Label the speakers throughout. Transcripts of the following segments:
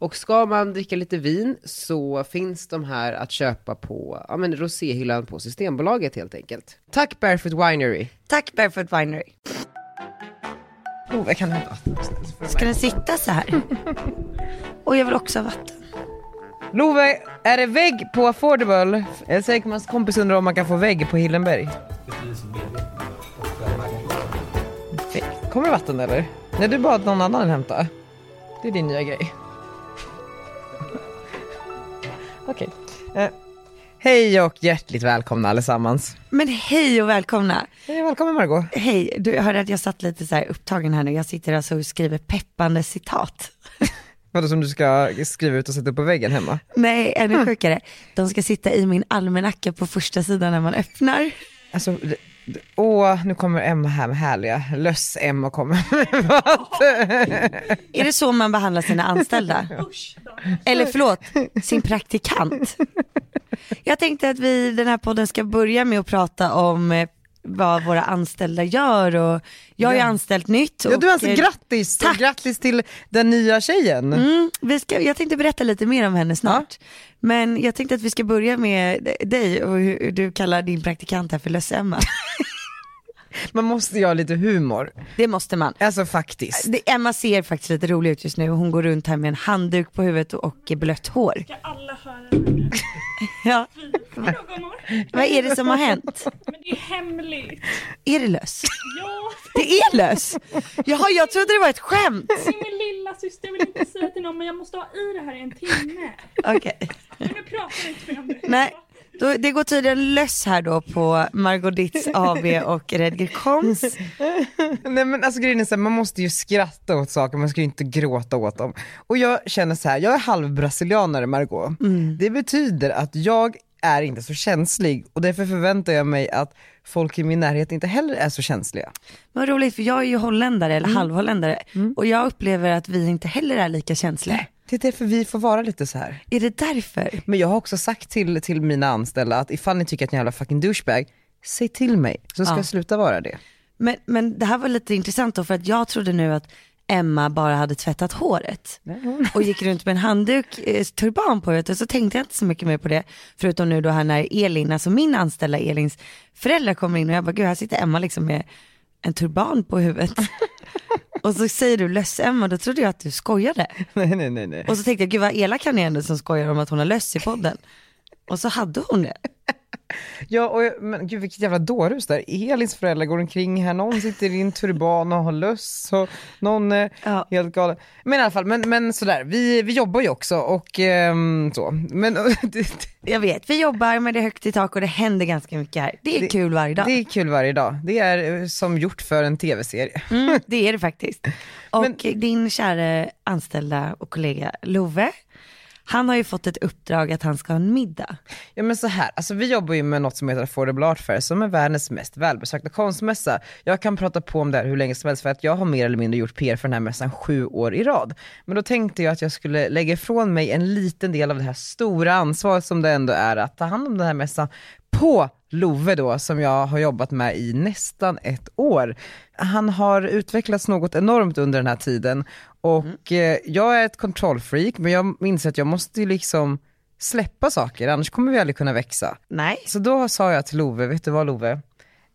Speaker 1: Och ska man dricka lite vin så finns de här att köpa på ja, men roséhyllan på Systembolaget helt enkelt. Tack Barefoot Winery!
Speaker 2: Tack Barefoot Winery.
Speaker 1: Oh, jag kan hämta vatten.
Speaker 2: Ska den sitta så här? Och jag vill också ha vatten.
Speaker 1: Love, är det vägg på affordable? Jag säger att hans kompis undrar om man kan få vägg på Hillenberg. Perfekt. Kommer det vatten eller? Nej, du bad någon annan hämta. Det är din nya grej. Okej. Eh, hej och hjärtligt välkomna allesammans.
Speaker 2: Men hej och välkomna.
Speaker 1: Hej, välkommen Margot.
Speaker 2: Hej, du jag hörde att jag satt lite så här upptagen här nu. Jag sitter alltså och skriver peppande citat.
Speaker 1: Vadå som du ska skriva ut och sätta upp på väggen hemma?
Speaker 2: Nej, ännu sjukare. De ska sitta i min almanacka på första sidan när man öppnar.
Speaker 1: Alltså, det- det- åh, nu kommer Emma här med härliga, löss-Emma kommer med vatten.
Speaker 2: Är det så man behandlar sina anställda? Eller förlåt, sin praktikant. Jag tänkte att vi i den här podden ska börja med att prata om eh, vad våra anställda gör och jag har ju anställt nytt.
Speaker 1: Ja, du
Speaker 2: och,
Speaker 1: alltså
Speaker 2: eh,
Speaker 1: grattis!
Speaker 2: tack.
Speaker 1: Grattis till den nya tjejen.
Speaker 2: Mm, vi ska, jag tänkte berätta lite mer om henne snart. Men jag tänkte att vi ska börja med d- dig och hur hur du kallar din praktikant här för löss-Emma.
Speaker 1: Man måste ju ha lite humor.
Speaker 2: Det måste man.
Speaker 1: Alltså faktiskt.
Speaker 2: Det, Emma ser faktiskt lite rolig ut just nu. Hon går runt här med en handduk på huvudet och blött hår.
Speaker 3: ska alla höra mina
Speaker 2: Ja.
Speaker 3: frågor.
Speaker 2: Vad är det som har hänt?
Speaker 3: Men det är hemligt.
Speaker 2: Är det löss?
Speaker 3: Ja,
Speaker 2: Det är löss! Jaha, jag trodde det var ett skämt.
Speaker 3: det är min lilla syster. Jag vill inte säga till någon men jag måste ha i det här i en timme.
Speaker 2: Okej.
Speaker 3: Men nu pratar vi inte mer om det.
Speaker 2: Nej, då, det går tydligen löss här då på Margot Dietz AB och Redger Koms.
Speaker 1: Nej men alltså grejen är så här, man måste ju skratta åt saker, man ska ju inte gråta åt dem. Och jag känner så här, jag är halvbrasilianare Margot. Det betyder att jag är inte så känslig och därför förväntar jag mig att folk i min närhet inte heller är så känsliga.
Speaker 2: Vad roligt för jag är ju holländare eller halvholländare och jag upplever att vi inte heller är lika känsliga.
Speaker 1: Det är därför vi får vara lite så här.
Speaker 2: Är det därför?
Speaker 1: Men jag har också sagt till, till mina anställda att ifall ni tycker att ni är en jävla fucking douchebag, säg till mig så ska
Speaker 2: Ja.
Speaker 1: jag sluta vara det.
Speaker 2: Men, men det här var lite intressant då för att jag trodde nu att Emma bara hade tvättat håret och gick runt med en handduk, eh, turban på huvudet och så tänkte jag inte så mycket mer på det. Förutom nu då här när Elin, alltså min anställda Elins föräldrar kommer in och jag bara gud här sitter Emma liksom med en turban på huvudet. och så säger du löss-Emma, då trodde jag att du skojade.
Speaker 1: Nej nej nej nej.
Speaker 2: Och så tänkte jag gud vad elak han är ändå som skojar om att hon har löss i podden. Och så hade hon det.
Speaker 1: Ja, och jag, men gud vilket jävla dårhus där. Elins föräldrar går omkring här, någon sitter i en turban och har löss och någon är
Speaker 2: Ja.
Speaker 1: helt galen. Men i alla fall, men, men sådär, vi, vi jobbar ju också och ehm, så. Men det,
Speaker 2: Jag vet, vi jobbar med det är högt i tak och det händer ganska mycket här. Det är kul varje dag.
Speaker 1: det är kul varje dag. Det är eh, som gjort för en tv-serie.
Speaker 2: Mm, det är det faktiskt. Och din kära anställda och kollega Love, han har ju fått ett uppdrag att han ska ha en middag.
Speaker 1: Ja men så här, alltså vi jobbar ju med något som heter Affordable Art Fair som är världens mest välbesökta konstmässa. Jag kan prata på om det här hur länge som helst för att jag har mer eller mindre gjort PR för den här mässan sju år i rad. Men då tänkte jag att jag skulle lägga ifrån mig en liten del av det här stora ansvaret som det ändå är att ta hand om den här mässan på Love då, som jag har jobbat med i nästan ett år. Han har utvecklats något enormt under den här tiden och eh, jag är ett kontrollfreak men jag inser att jag måste ju liksom släppa saker, annars kommer vi aldrig kunna växa.
Speaker 2: Nej.
Speaker 1: Så då sa jag till Love, vet du vad Love?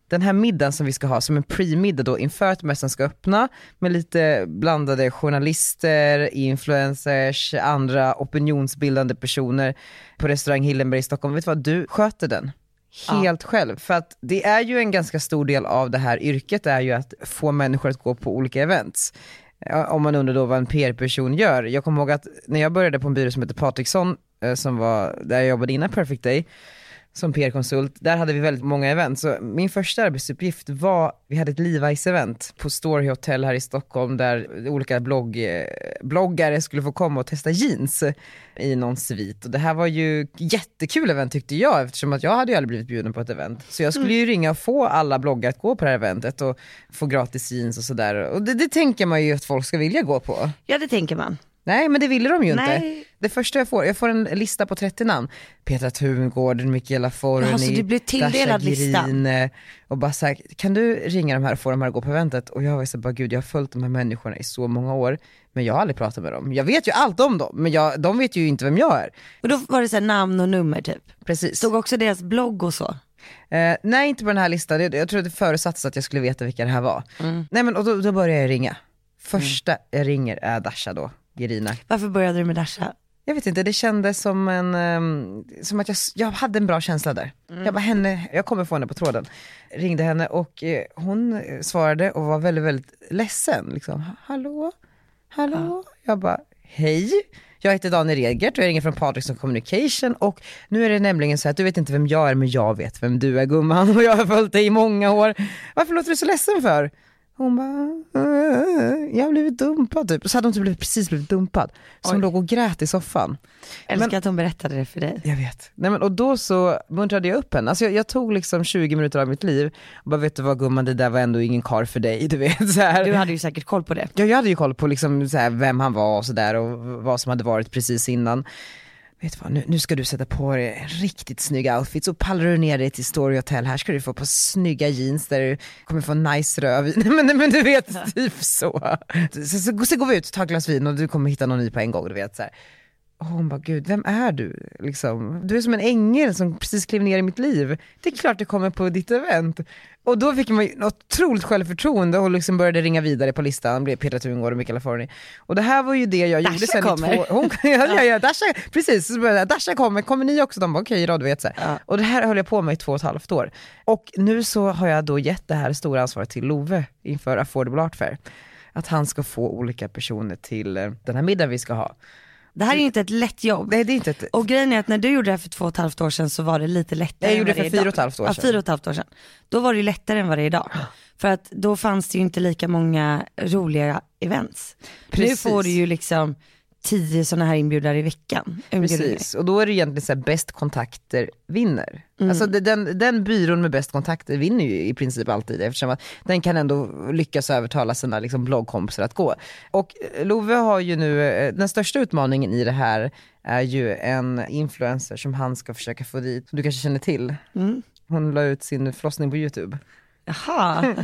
Speaker 1: Den här middagen som vi ska ha, som en pre-middag då inför att mässan ska öppna, med lite blandade journalister, influencers, andra opinionsbildande personer på restaurang Hillenberg i Stockholm. Vet du vad, du sköter den. Helt själv. För att det är ju en ganska stor del av det här yrket, är ju att få människor att gå på olika events. Ja, om man undrar då vad en PR-person gör. Jag kommer ihåg att när jag började på en byrå som heter Patriksson, eh, som var där jag jobbade innan Perfect Day, som PR-konsult, där hade vi väldigt många event. Så min första arbetsuppgift var, vi hade ett Levi's-event på Story Hotel här i Stockholm där olika blogg, eh, bloggare skulle få komma och testa jeans i någon svit. Och det här var ju jättekul event tyckte jag eftersom att jag hade ju aldrig blivit bjuden på ett event. Så jag skulle ju ringa och få alla bloggare att gå på det här eventet och få gratis jeans och sådär. Och det, det tänker man ju att folk ska vilja gå på.
Speaker 2: Ja det tänker man.
Speaker 1: Nej men det ville de ju inte.
Speaker 2: Nej.
Speaker 1: Det första jag får, jag får en lista på 30 namn. Petra Tungården, Mikaela Forni,
Speaker 2: Jaha, så du blev tilldelad
Speaker 1: Dasha Green,
Speaker 2: listan?
Speaker 1: eh, Och bara såhär, kan du ringa de här och få de här att gå på eventet? Och jag var ju såhär, bara, gud jag har följt de här människorna i så många år, men jag har aldrig pratat med dem. Jag vet ju allt om dem, men jag, de vet ju inte vem jag är.
Speaker 2: Och då var det så här namn och nummer typ.
Speaker 1: Precis.
Speaker 2: Stod också deras blogg och så.
Speaker 1: Eh, nej inte på den här listan, jag, jag tror det förutsattes att jag skulle veta vilka det här var.
Speaker 2: Mm.
Speaker 1: Nej men och då, då började jag ringa. Första jag ringer är Dasha då, Gerina.
Speaker 2: Varför började du med Dasha?
Speaker 1: Jag vet inte, det kändes som en, ehm, som att jag, s- jag hade en bra känsla där. Jag bara, henne, jag kommer få henne på tråden. Ringde henne och eh, hon eh, svarade och var väldigt, väldigt ledsen. Liksom, hallå, hallå? Jag bara, hej. Jag heter Daniel Regert och jag ringer från Patrickson Communication och nu är det nämligen så att du vet inte vem jag är men jag vet vem du är gumman och jag har följt dig i många år. Varför låter du så ledsen för? Hon bara, "Eh, jag har blivit dumpad typ. Och så hade hon typ blivit, precis blivit dumpad. Så hon
Speaker 2: Oj.
Speaker 1: låg och grät i soffan.
Speaker 2: Älskar att hon berättade det för dig.
Speaker 1: Jag vet. Nej, men, och då så muntrade jag upp henne. Alltså, jag, jag tog liksom 20 minuter av mitt liv och bara, vet du vad gumman, det där var ändå ingen kar för dig. Du vet, så här.
Speaker 2: Du hade ju säkert koll på det.
Speaker 1: Ja, jag hade ju koll på liksom så här vem han var och sådär och vad som hade varit precis innan. Vet du vad, nu, nu ska du sätta på dig en riktigt snygg outfit så pallar du ner dig till Story Hotel, här ska du få på snygga jeans där du kommer få en nice röv. Nej men, nej, men du vet, typ så. Så, så. så går vi ut, tar ett glas vin och du kommer hitta någon ny på en gång, du vet så här. Och hon bara, gud vem är du? Liksom, du är som en ängel som precis klev ner i mitt liv. Det är klart du kommer på ditt event. Och då fick man ju något otroligt självförtroende och liksom började ringa vidare på listan, blev Petra Tungård och Mikaela Forni. Och det här var ju det jag gjorde
Speaker 2: Dasha
Speaker 1: sen i
Speaker 2: kommer.
Speaker 1: två hon, ja, ja, ja, Dasha, precis, så började jag, Dasha kommer, kommer ni också? De bara okej då, du vet så här.
Speaker 2: Ja.
Speaker 1: Och det här höll jag på med i två och ett halvt år. Och nu så har jag då gett det här stora ansvaret till Love inför Affordable Art Fair. Att han ska få olika personer till eh, den här middagen vi ska ha.
Speaker 2: Det här är ju inte ett lätt jobb.
Speaker 1: Nej det är inte ett
Speaker 2: Och grejen är att när du gjorde det här för två och ett halvt år sedan så var det lite lättare.
Speaker 1: Jag gjorde
Speaker 2: än vad
Speaker 1: det för
Speaker 2: är
Speaker 1: fyra
Speaker 2: idag.
Speaker 1: och ett halvt år
Speaker 2: Ja,
Speaker 1: sedan.
Speaker 2: fyra och ett halvt år sedan. Då var det ju lättare än vad det är idag. För att då fanns det ju inte lika många roliga events.
Speaker 1: Precis.
Speaker 2: Nu får du ju liksom tio sådana här inbjudare i veckan. Inbjudningar.
Speaker 1: Precis, och då är det egentligen så här, bäst kontakter vinner. Alltså det, den, den byrån med bäst kontakter vinner ju i princip alltid eftersom att den kan ändå lyckas övertala sina liksom, bloggkompisar att gå. Och eh, Love har ju nu, eh, den största utmaningen i det här är ju en influencer som han ska försöka få dit, som du kanske känner till. Hon la ut sin förlossning på YouTube.
Speaker 2: Jaha,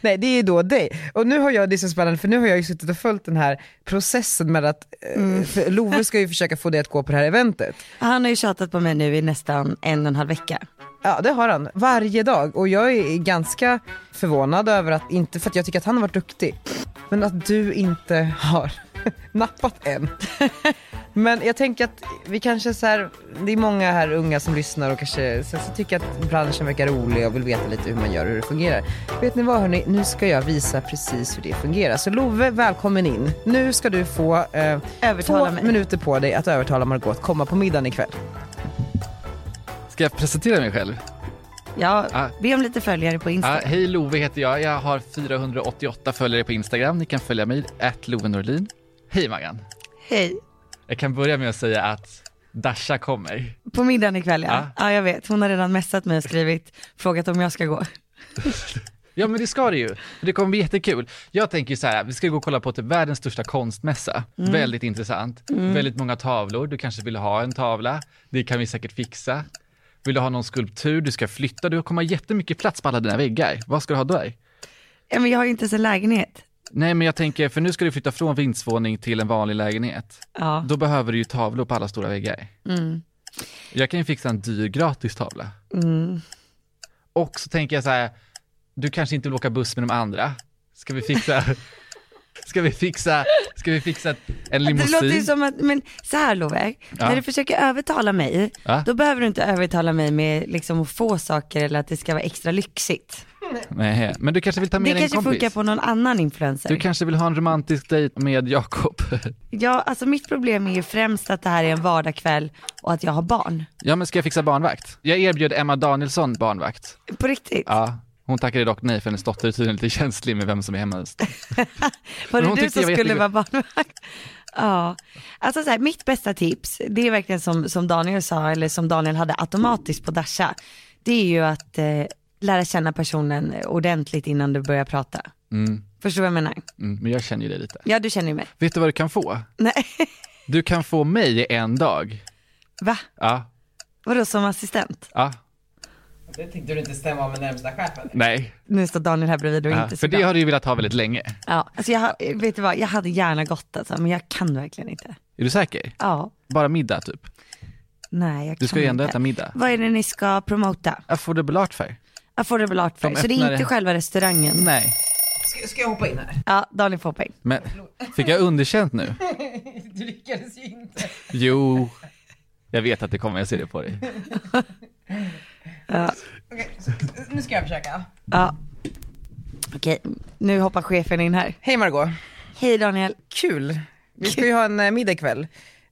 Speaker 1: Nej det är ju då dig. Och nu har jag, det är så spännande för nu har jag ju suttit och följt den här processen med att, eh, för Love ska ju försöka få dig att gå på det här eventet.
Speaker 2: han har ju tjatat på mig nu i nästan en och en halv vecka.
Speaker 1: Ja det har han, varje dag. Och jag är ganska förvånad över att, inte för att jag tycker att han har varit duktig, men att du inte har nappat än. Men jag tänker att vi kanske så här, det är många här unga som lyssnar och kanske så, så tycker att branschen verkar rolig och vill veta lite hur man gör och hur det fungerar. Vet ni vad hörni, nu ska jag visa precis hur det fungerar. Så Love, välkommen in. Nu ska du få eh,
Speaker 2: Övertala
Speaker 1: två
Speaker 2: mig.
Speaker 1: minuter på dig att övertala Margot att komma på middagen ikväll.
Speaker 4: Ska jag presentera mig själv?
Speaker 2: Ja,
Speaker 4: Ah.
Speaker 2: be om lite följare på
Speaker 4: Ja,
Speaker 2: Instagram.
Speaker 4: hej, Love heter jag. Jag har 488 följare på Instagram. Ni kan följa mig, at Norlin. Hej Maggan.
Speaker 2: Hej.
Speaker 4: Jag kan börja med att säga att Dasha kommer.
Speaker 2: På middagen ikväll ja.
Speaker 4: Ah.
Speaker 2: Ja jag vet, hon har redan messat mig och skrivit, frågat om jag ska gå.
Speaker 4: Ja men det ska det ju. Det kommer bli jättekul. Jag tänker ju så här, vi ska gå och kolla på typ världens största konstmässa. Väldigt intressant. Väldigt många tavlor. Du kanske vill ha en tavla. Det kan vi säkert fixa. Vill du ha någon skulptur? Du ska flytta. Du kommer ha jättemycket plats på alla dina väggar. Vad ska du ha där?
Speaker 2: Ja, men jag har ju inte ens en lägenhet.
Speaker 4: Nej men jag tänker, för nu ska du flytta från vindsvåning till en vanlig lägenhet.
Speaker 2: Ja.
Speaker 4: Då behöver du ju tavlor på alla stora väggar.
Speaker 2: Mm.
Speaker 4: Jag kan ju fixa en dyr gratis tavla.
Speaker 2: Mm.
Speaker 4: Och så tänker jag så här, du kanske inte vill åka buss med de andra. Ska vi fixa, ska vi fixa, ska vi fixa en
Speaker 2: Det låter ju
Speaker 4: limousin?
Speaker 2: som att, men så här Love, när
Speaker 4: Ja.
Speaker 2: du försöker övertala mig,
Speaker 4: Ja.
Speaker 2: då behöver du inte övertala mig med liksom att få saker eller att det ska vara extra lyxigt.
Speaker 4: Nej, men du kanske vill ta med
Speaker 2: Det
Speaker 4: dig en
Speaker 2: kanske funkar
Speaker 4: kompis?
Speaker 2: på någon annan influencer.
Speaker 4: Du kanske vill ha en romantisk dejt med Jakob?
Speaker 2: Ja, alltså mitt problem är ju främst att det här är en vardagskväll och att jag har barn.
Speaker 4: Ja, men ska jag fixa barnvakt? Jag erbjöd Emma Danielsson barnvakt.
Speaker 2: På riktigt.
Speaker 4: Ja, hon tackade dock nej för hennes dotter är tydligen lite känslig med vem som är hemma hos dem.
Speaker 2: Var
Speaker 4: Men
Speaker 2: det
Speaker 4: hon
Speaker 2: du
Speaker 4: tyckte
Speaker 2: som
Speaker 4: jag var
Speaker 2: skulle vara
Speaker 4: jättegod.
Speaker 2: barnvakt? Ja, alltså så här, mitt bästa tips, det är verkligen som, som Daniel sa, eller som Daniel hade automatiskt på Dasha, det är ju att eh, lära känna personen ordentligt innan du börjar prata.
Speaker 4: Mm,
Speaker 2: Förstår du vad jag menar?
Speaker 4: mm, men jag känner ju dig lite.
Speaker 2: Ja, du känner ju mig.
Speaker 4: Vet du vad du kan få?
Speaker 2: Nej,
Speaker 4: Du kan få mig i en dag.
Speaker 2: va?
Speaker 4: Ja,
Speaker 2: Vadå som assistent?
Speaker 4: ja,
Speaker 1: Det tänkte du inte stämma av med närmsta chefen.
Speaker 4: nej.
Speaker 2: Nu står Daniel här bredvid och
Speaker 4: Ja,
Speaker 2: inte så
Speaker 4: för det
Speaker 2: bra.
Speaker 4: har du ju velat ha väldigt länge.
Speaker 2: Ja, alltså jag, har- vet du vad, jag hade gärna gått alltså, men jag kan verkligen inte.
Speaker 4: Är du säker?
Speaker 2: Ja,
Speaker 4: Bara middag typ?
Speaker 2: nej jag
Speaker 4: Du ska
Speaker 2: kan
Speaker 4: ju ändå
Speaker 2: inte.
Speaker 4: äta middag.
Speaker 2: Vad är det ni ska promota?
Speaker 4: Affordable art fair?
Speaker 2: Affordable art fair.
Speaker 4: De
Speaker 2: Så det är
Speaker 4: öppnar
Speaker 2: inte
Speaker 4: det.
Speaker 2: själva restaurangen?
Speaker 4: Nej.
Speaker 1: Ska, ska jag hoppa in här?
Speaker 2: Ja, Daniel får poäng.
Speaker 4: Men fick jag underkänt nu?
Speaker 1: Du lyckades ju inte.
Speaker 4: Jo. Jag vet att det kommer, jag ser det på dig.
Speaker 1: Okej, så- nu ska jag försöka.
Speaker 2: Ja. Okej, nu hoppar chefen in här.
Speaker 1: Hej Margot.
Speaker 2: Hej Daniel.
Speaker 1: Kul. Vi ska ju ha en eh, middag ikväll.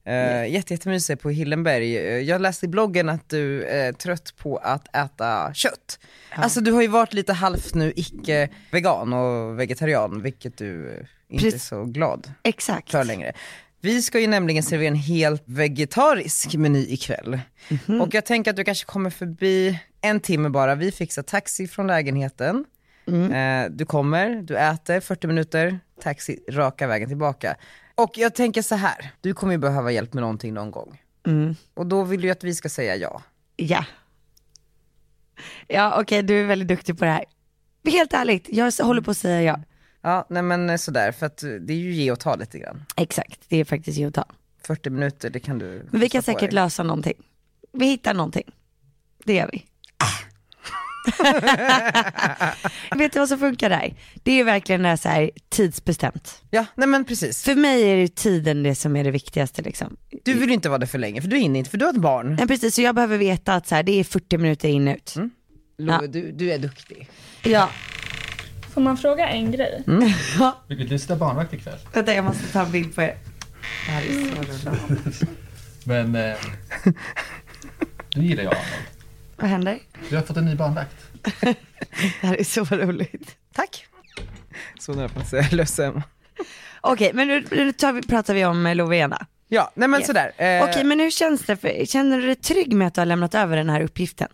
Speaker 1: Uh, jätte, jättemysig på Hillenberg. Eh, jag läste i bloggen att du är trött på att äta kött. Alltså du har ju varit lite halvt nu icke-vegan och vegetarian, vilket du eh, inte är
Speaker 2: Precis.
Speaker 1: så glad
Speaker 2: Exakt.
Speaker 1: för längre. Vi ska ju nämligen servera en helt vegetarisk meny ikväll.
Speaker 2: Mhm.
Speaker 1: Och jag tänker att du kanske kommer förbi en timme bara, vi fixar taxi från lägenheten.
Speaker 2: Mm.
Speaker 1: Eh, Du kommer, du äter, 40 minuter, taxi raka vägen tillbaka. Och jag tänker så här, du kommer ju behöva hjälp med någonting någon gång.
Speaker 2: Mm.
Speaker 1: Och då vill du ju att vi ska säga ja.
Speaker 2: Ja. Ja, okej, du är väldigt duktig på det här. Helt ärligt, jag s- håller på att säga ja.
Speaker 1: Ja, nej men eh, sådär, för att eh, det är ju ge och ta lite grann.
Speaker 2: Exakt, det är faktiskt ge och ta.
Speaker 1: 40 minuter, det kan du
Speaker 2: Men vi kan
Speaker 1: kosta på
Speaker 2: säkert
Speaker 1: dig.
Speaker 2: lösa någonting. Vi hittar någonting. Det gör vi.
Speaker 1: Ah.
Speaker 2: Vet du vad som funkar där? Det är verkligen det här, så här tidsbestämt.
Speaker 1: Ja, nej men precis.
Speaker 2: För mig är det ju tiden det som är det viktigaste liksom.
Speaker 1: Du vill ju inte vara där för länge, för du hinner inte, för du har ett barn.
Speaker 2: Nej precis, så jag behöver veta att så här, det är 40 minuter in och ut.
Speaker 1: Lo,
Speaker 2: Ja.
Speaker 1: du, du är duktig.
Speaker 2: Ja,
Speaker 3: Får man fråga en grej?
Speaker 4: Vilket du sitter barnvakt ikväll.
Speaker 2: vänta jag måste ta en bild på er. Det här är så roligt.
Speaker 4: Men... eh, du gillar ju Arnold.
Speaker 2: Vad händer?
Speaker 4: Du har fått en ny barnvakt.
Speaker 2: Det här är så roligt.
Speaker 1: Tack. Så nära på att säga lösa Emma.
Speaker 2: Okej, men nu, nu tar vi, pratar vi om eh, Lovena.
Speaker 1: Ja, nej men
Speaker 2: Yes.
Speaker 1: sådär. Eh,
Speaker 2: Okej, men hur känns det? För, känner du dig trygg med att du har lämnat över den här uppgiften?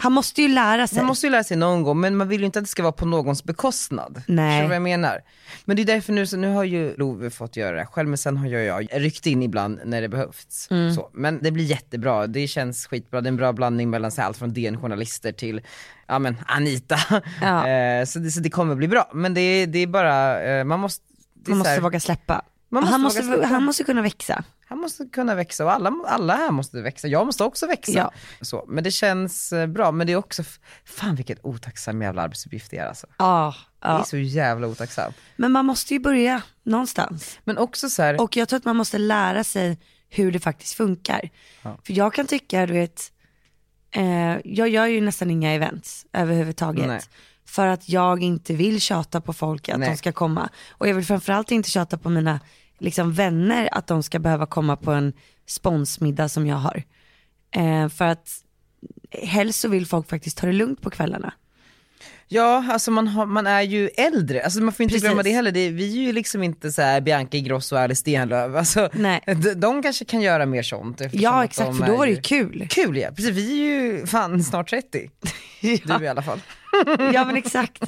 Speaker 2: Han måste ju lära sig.
Speaker 1: Man måste ju lära sig någon gång, men man vill ju inte att det ska vara på någons bekostnad.
Speaker 2: Nej.
Speaker 1: Förstår du vad jag menar? Men det är därför nu, så nu har ju Love fått göra det här själv, men sen har jag, jag ryckt in ibland när det behövts.
Speaker 2: Mm.
Speaker 1: Så. Men det blir jättebra, det känns skitbra, det är en bra blandning mellan så här, allt från DN-journalister till ja, men Anita.
Speaker 2: Ja.
Speaker 1: Eh, så, det, så det kommer bli bra, men det, är- det är bara, eh, man måste, det är
Speaker 2: Man
Speaker 1: så
Speaker 2: måste
Speaker 1: här,
Speaker 2: våga släppa.
Speaker 1: Man måste
Speaker 2: han,
Speaker 1: våga
Speaker 2: måste,
Speaker 1: släppa.
Speaker 2: han måste kunna växa.
Speaker 1: Han måste kunna växa och alla, alla här måste växa. Jag måste också växa.
Speaker 2: Ja.
Speaker 1: Så, men det känns eh, bra. Men det är också, f- fan vilken otacksam jävla arbetsuppgift det är alltså.
Speaker 2: Ja,
Speaker 1: Det är
Speaker 2: ja.
Speaker 1: så jävla otacksamt.
Speaker 2: Men man måste ju börja någonstans.
Speaker 1: Men också så här,
Speaker 2: Och jag tror att man måste lära sig hur det faktiskt funkar. För jag kan tycka, du vet, eh, jag gör ju nästan inga events överhuvudtaget.
Speaker 1: Nej.
Speaker 2: För att jag inte vill tjata på folk att
Speaker 1: Nej.
Speaker 2: de ska komma. Och jag vill framförallt inte tjata på mina liksom, vänner att de ska behöva komma på en sponsmiddag som jag har. Eh, för att helst så vill folk faktiskt ta det lugnt på kvällarna.
Speaker 1: ja alltså man, har, man är ju äldre. Alltså man får inte
Speaker 2: Precis.
Speaker 1: glömma det heller. Det, är- vi är ju liksom inte så här Bianca Ingrosso och Alice Stenlöf. Alltså,
Speaker 2: Nej.
Speaker 1: de, de kanske kan göra mer sånt. eftersom
Speaker 2: Ja
Speaker 1: att
Speaker 2: exakt,
Speaker 1: de
Speaker 2: för då
Speaker 1: är
Speaker 2: var det ju kul.
Speaker 1: Kul ja, precis. Vi är ju fan snart 30. Du i alla fall.
Speaker 2: Ja men exakt.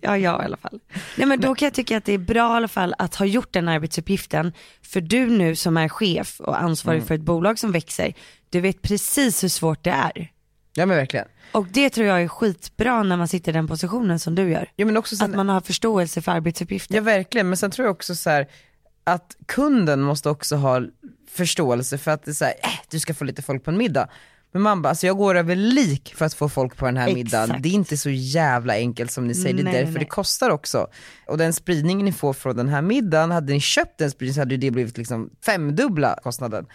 Speaker 2: Ja, jag i alla fall. Nej men då kan jag tycka att det är bra i alla fall att ha gjort den arbetsuppgiften. För du nu som är chef och ansvarig
Speaker 1: Mm.
Speaker 2: för ett bolag som växer, du vet precis hur svårt det är.
Speaker 1: Ja men verkligen.
Speaker 2: Och det tror jag är skitbra när man sitter i den positionen som du gör.
Speaker 1: Ja, men också sen,
Speaker 2: Att man har förståelse för arbetsuppgiften.
Speaker 1: Ja verkligen, men sen tror jag också så här att kunden måste också ha förståelse för att det är så här, äh, du ska få lite folk på en middag. Men man bara, alltså jag går över lik för att få folk på den här
Speaker 2: Exakt.
Speaker 1: middagen. Det är inte så jävla enkelt som ni säger, det
Speaker 2: Nej,
Speaker 1: är
Speaker 2: nej,
Speaker 1: därför
Speaker 2: nej.
Speaker 1: det kostar också. Och den spridningen ni får från den här middagen, hade ni köpt den spridningen så hade ju det blivit liksom femdubbla kostnaden.